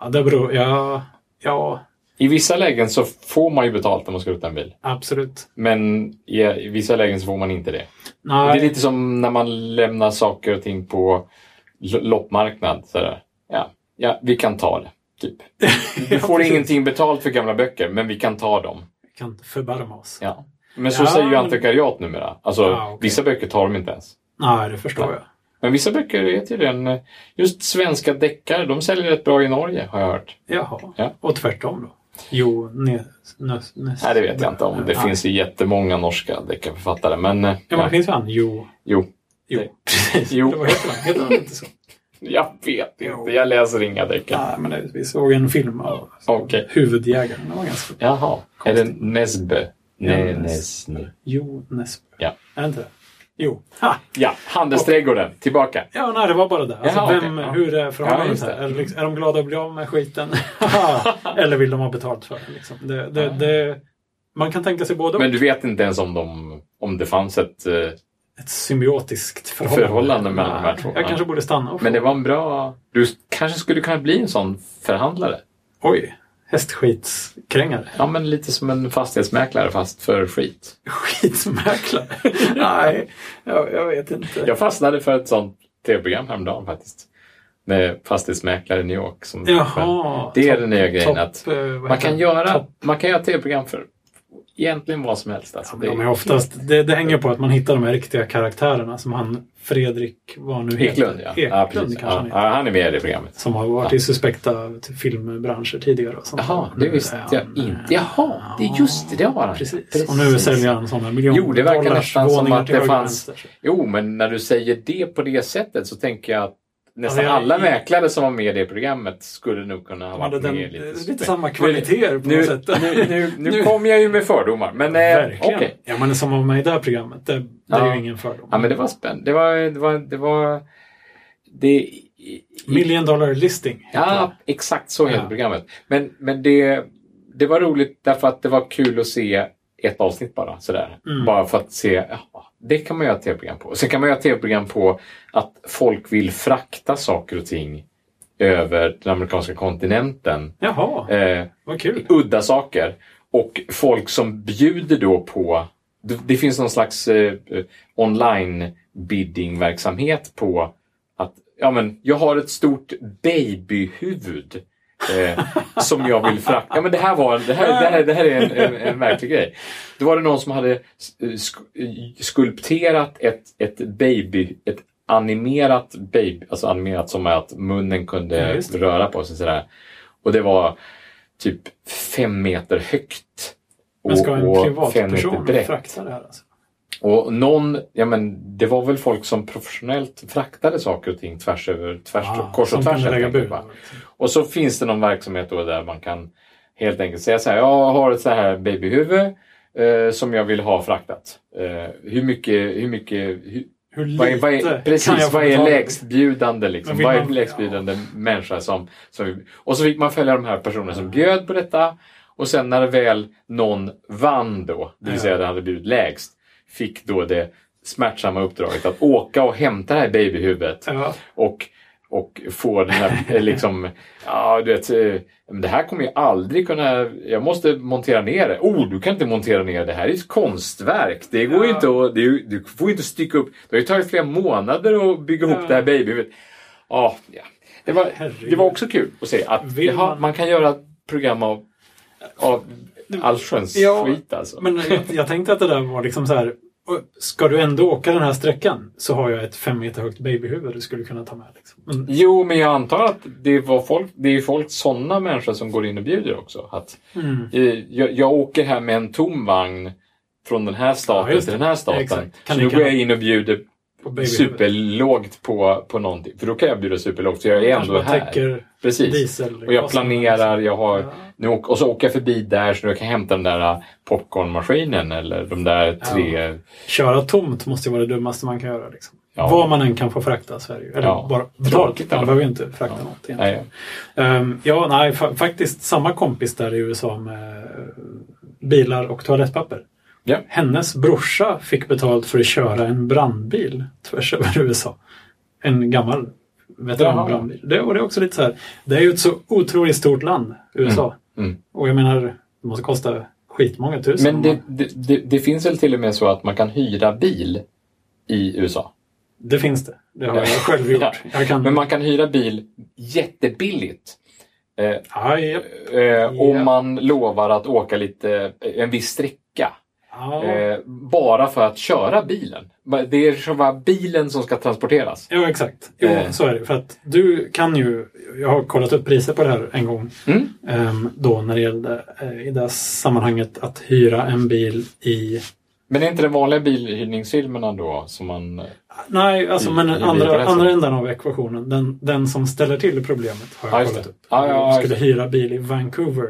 Ja, det beror, ja, ja
I vissa lägen så får man ju betalt när man skrotar en bil.
absolut.
Men i, i vissa lägen så får man inte det.
Nej,
Det är lite som när man lämnar saker och ting på lo- loppmarknad. Sådär. Ja, ja, vi kan ta det. Typ. Vi får
precis.
ingenting betalt för gamla böcker, men vi kan ta dem.
vi kan inte förbarma oss.
Ja. Men så
Ja,
säger ju
men-
antikvariat numera. Alltså,
Ja, okej.
Vissa böcker tar de inte ens.
Nej, det förstår jag.
Men vissa böcker är tydligen... eh, Just svenska deckare, de säljer rätt bra i Norge, har jag hört.
Jaha.
Ja.
Och tvärtom då? Jo, ne, nös, nös,
Nej, det vet jag inte om. Det
Nej.
finns ju jättemånga norska deckarförfattare, men... eh,
Ja, men det finns ju han. Jo.
Jo,
Jo,
Nej.
precis.
Jo.
Det var helt han. Heter han inte så?
jag vet inte. Jag läser inga deckare.
Nej, men det, vi såg en film av
Okej.
Huvudjägaren. Den var ganska...
Jaha. Är det Nesbø? Nej,
Ja, Nes-
Nesbø.
Jo Nesbø.
Ja.
Är det inte det? Jo. Ha!
Ja, handelsträdgården. Tillbaka.
Ja, nej, det var bara det. Alltså,
Jaha,
vem,
okej. Ja.
Hur är
Ja,
förhållandet
just det.
här? Är, det liksom, är de glada att bli av med skiten? Eller vill de ha betalt för det? Liksom? Det, det,
Ja.
det? Man kan tänka sig både
Men du vet inte ens om, de, om det fanns ett... eh,
ett symbiotiskt förhållande.
Förhållande mellan de här
Nej,
två,
Jag
ja.
kanske borde stanna och
Men det
fråga.
var en bra... Du kanske skulle kunna bli en sån förhandlare.
Oj, hästskitskrängare.
Ja, men lite som en fastighetsmäklare fast för skit.
Skitmäklare? Nej, jag, jag vet inte.
Jag fastnade för ett sånt tv-program häromdagen faktiskt. Med fastighetsmäklare i New York. Som
Jaha.
Det är den nya grejen att
eh, vad
man
heter
kan
det?
göra,
Topp.
man kan göra tv-program för egentligen vad som helst. Alltså, det
De är
är
oftast, det, det hänger på att man hittar de här riktiga karaktärerna som han Fredrik, vad han nu heter.
Eklund, ja. ja,
Eklund
precis.
kanske
ja,
han heter.
ja, han är med i det programmet.
Som har varit i suspekta typ, filmbranscher tidigare. Och sånt
Jaha,
där.
det
Nu
visste
är
jag
han,
inte. Jaha, det är just det, det har han.
Precis. Och nu säljer han sådana miljoner
Jo, det verkar
dollars
nästan som
våningar
att
till
det
höger och
fanns-
vänster.
Jo, men när du säger det på det sättet så tänker jag att nästan
Ja, jag-
alla mäklare som var med i det programmet skulle nog kunna ha
De hade
varit
den,
med
lite,
lite.
samma kvaliteter på
Nu,
något sätt.
nu, nu, nu,
Nu-
kom jag ju med fördomar, men eh, okej.
Verkligen. Ja, men som var med i det här programmet, det, det är
Ja.
ju ingen fördom.
Ja, men det var spännande. Det var... Det var, det var det,
Million dollar listing. heter
ja, exakt så heter
Ja.
programmet. Men, men det, det var roligt därför att det var kul att se ett avsnitt bara. Sådär.
Mm.
Bara för att se, ja, det kan man göra ett tv-program på. Sen kan man göra ett tv-program på att folk vill frakta saker och ting över den amerikanska kontinenten.
det. Jaha,
Eh,
vad kul.
udda saker. Och folk som bjuder då på... Det, det finns någon slags eh, eh, online bidding-verksamhet på att ja, men, jag har ett stort babyhuvud eh, som jag vill frakta. Ja, men det här, var, det här, det här, det här är en, en, en verklig grej. Då var det någon som hade eh, sk- eh, skulpterat ett, ett baby... Ett animerat baby, alltså animerat som att munnen
Ja,
kunde
just det.
röra på sig sådär. Och det var typ fem meter högt.
Men ska
och-
en
och
privatperson
brett.
frakta det här? Alltså?
Och någon, ja men det var väl folk som professionellt fraktade saker och ting tvärs över, tvärs, kors och
Ah, som
tvärs.
kunde
helt
lägga
enkelt,
bud.
va? Och så finns det någon verksamhet då där man kan helt enkelt säga så här, jag har ett så här babyhuvud eh, som jag vill ha fraktat. Eh, hur mycket, hur mycket, hur,
Hur
vad är, vad är,
lite kan
precis,
jag få
vad är
betala?
lägstbjudande? Liksom?
Men vill
Vad är
man-
lägstbjudande människa som, som... Och så fick man följa de här personerna som bjöd på detta. Och sen när väl någon vann då, det vill
Ja.
säga den hade bjudit lägst, fick då det smärtsamma uppdraget att åka och hämta det här babyhuvudet
Ja,
och, och få den här eh, liksom, ja du vet, eh, men det här kommer jag aldrig kunna, jag måste montera ner det. Oh, du kan inte montera ner det här, det är ett konstverk. Det går ju
Ja.
inte att, det är, ju- du får ju inte stycka upp, det har ju tagit flera månader att bygga ihop
Ja.
det här babyhuvudet. Ja, ja. Det, var,
Herregud.
det var också kul att se att
Vill
jaha,
man-
man kan göra ett program av, av allsköns
Ja,
skit alltså.
men jag, jag tänkte att det där var liksom så här. och Ska du ändå åka den här sträckan så har jag ett fem meter högt babyhuvud du skulle kunna ta med. Liksom. Men
Jo, men jag antar att det, var folk, det är folk, sådana människor som går in och bjuder också. Att,
Mm.
eh, jag, jag åker här med en tom vagn från den här staten
Ja, just
till
det.
den här staten.
Exakt. Kan
så
ni-
nu
kan-
går jag in och bjuder
på babyhuvudet.
superlågt på, på någonting. För då kan jag bjuda superlågt, så jag är
Kanske
ändå
bara
här.
täcker
Precis.
diesel. liksom.
Och jag planerar, jag har...
Ja.
Nu, åk- och så åker jag förbi där så jag kan hämta den där äh, popcornmaskinen eller de där tre... Ja.
Köra tomt måste ju vara det dummaste man kan göra. Liksom.
Ja.
Vad man än kan få frakta så är det ju. Eller
Ja.
bara betalt.
Tråkigt,
Man
ja.
behöver ju inte frakta något egentligen.
Nej,
Ehm, ja, nej, fa- faktiskt samma kompis där i USA med eh, bilar och toalettpapper.
Ja.
Hennes brorsa fick betalt för att köra en brandbil tvärs över USA. En gammal veteranbrandbil. Det, och det är också lite så här, det är ju ett så otroligt stort land, USA.
Mm, mm.
Och jag menar, det måste kosta skitmånga tusen.
Men
om
det,
man,
det, det, det finns väl till och med så att man kan hyra bil i USA?
det finns det. Det har jag själv gjort.
Ja.
Jag kan,
Men man kan hyra bil jättebilligt. Eh,
ja, ja,
eh,
Ja.
Om man lovar att åka lite, eh, en viss sträcka.
ja.
Eh, bara för att köra bilen. Va- Det är själva bilen som ska transporteras.
Ja, exakt. Jo,
Eh.
så är det. För att du kan ju, jag har kollat upp priser på det här en gång.
Mm.
Ehm, då när det gällde eh, i det här sammanhanget att hyra en bil i...
Men är inte den vanliga bilhyrningsfilmerna då som man...
Nej, alltså
I-
men
i
andra,
bilresan.
andra änden av ekvationen. Den, den som ställer till problemet har jag
Ja, just
kollat
det.
upp.
Ja, ja,
Jag
ja,
skulle
just
hyra bil i Vancouver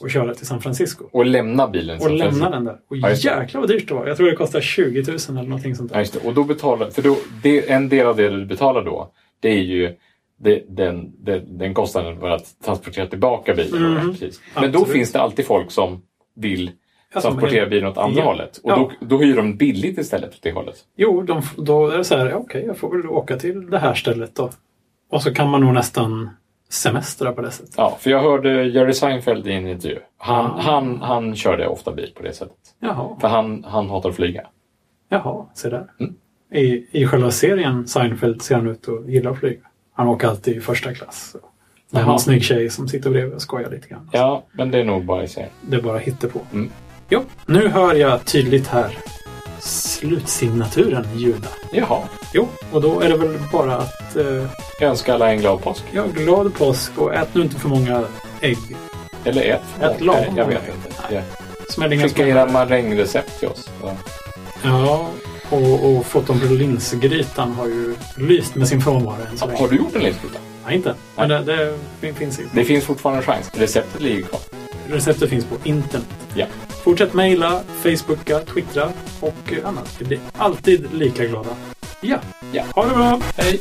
och köra till San Francisco.
Och lämna bilen.
Och
som finns-
lämna den där. Och
Ja, just det.
jäklar vad dyrt det var. Jag tror det kostade 20 000 eller någonting sånt
Ja,
där.
just det. Och då betalar... För då, det, en del av det du betalar då, det är ju det, den, den, den kostnaden för att transportera tillbaka bilen.
Mm.
Ja, precis. Men då
Absolut.
finns det alltid folk som vill
Alltså, men-
transportera bilen åt andra
Ja.
hållet. Och
Ja.
då, då hyr de billigt istället åt det hållet.
Jo, de, f- då är det så här, okej, jag får väl åka till det här stället då. Och så kan man nog nästan semestrar på det sättet.
Ja, för jag hörde Jerry Seinfeld i en intervju. Han,
Ah.
han, han körde ofta bil på det sättet.
Jaha,
För han, han hatar att flyga.
jaha se där.
Mm.
I, I själva serien Seinfeld ser han ut och gillar att flyga. Han åker alltid i första klass. Han har
Jaha.
en snygg tjej som sitter bredvid och skojar lite grann.
Ja, men det är nog bara i serien.
Det är bara hittepå.
Mm.
Jo, nu hör jag tydligt här slutsignaturen ljuda.
Jaha.
Jo, och då är det väl bara att eh,
Jag önskar alla en glad påsk.
jag glad påsk och ät nu inte för många ägg.
Eller ett. Eh,
Ett lagom.
Jag vet inte. Ja.
Smäll inga
Skicka
små-
era marängrecept till oss. Ja.
Ja, och, och fotonlinsgrytan har ju lyst med sin frånvaro än så länge.
Har du gjort en linsgryta?
Nej, inte. Men det, det fin- finns i.
Det finns fortfarande en chans. Receptet ligger kvar.
Receptet finns på internet.
Ja.
Fortsätt mejla, facebooka, twittra och eh, annat. Vi blir alltid lika glada. Ja,
Ja.
ha det bra!
Hej!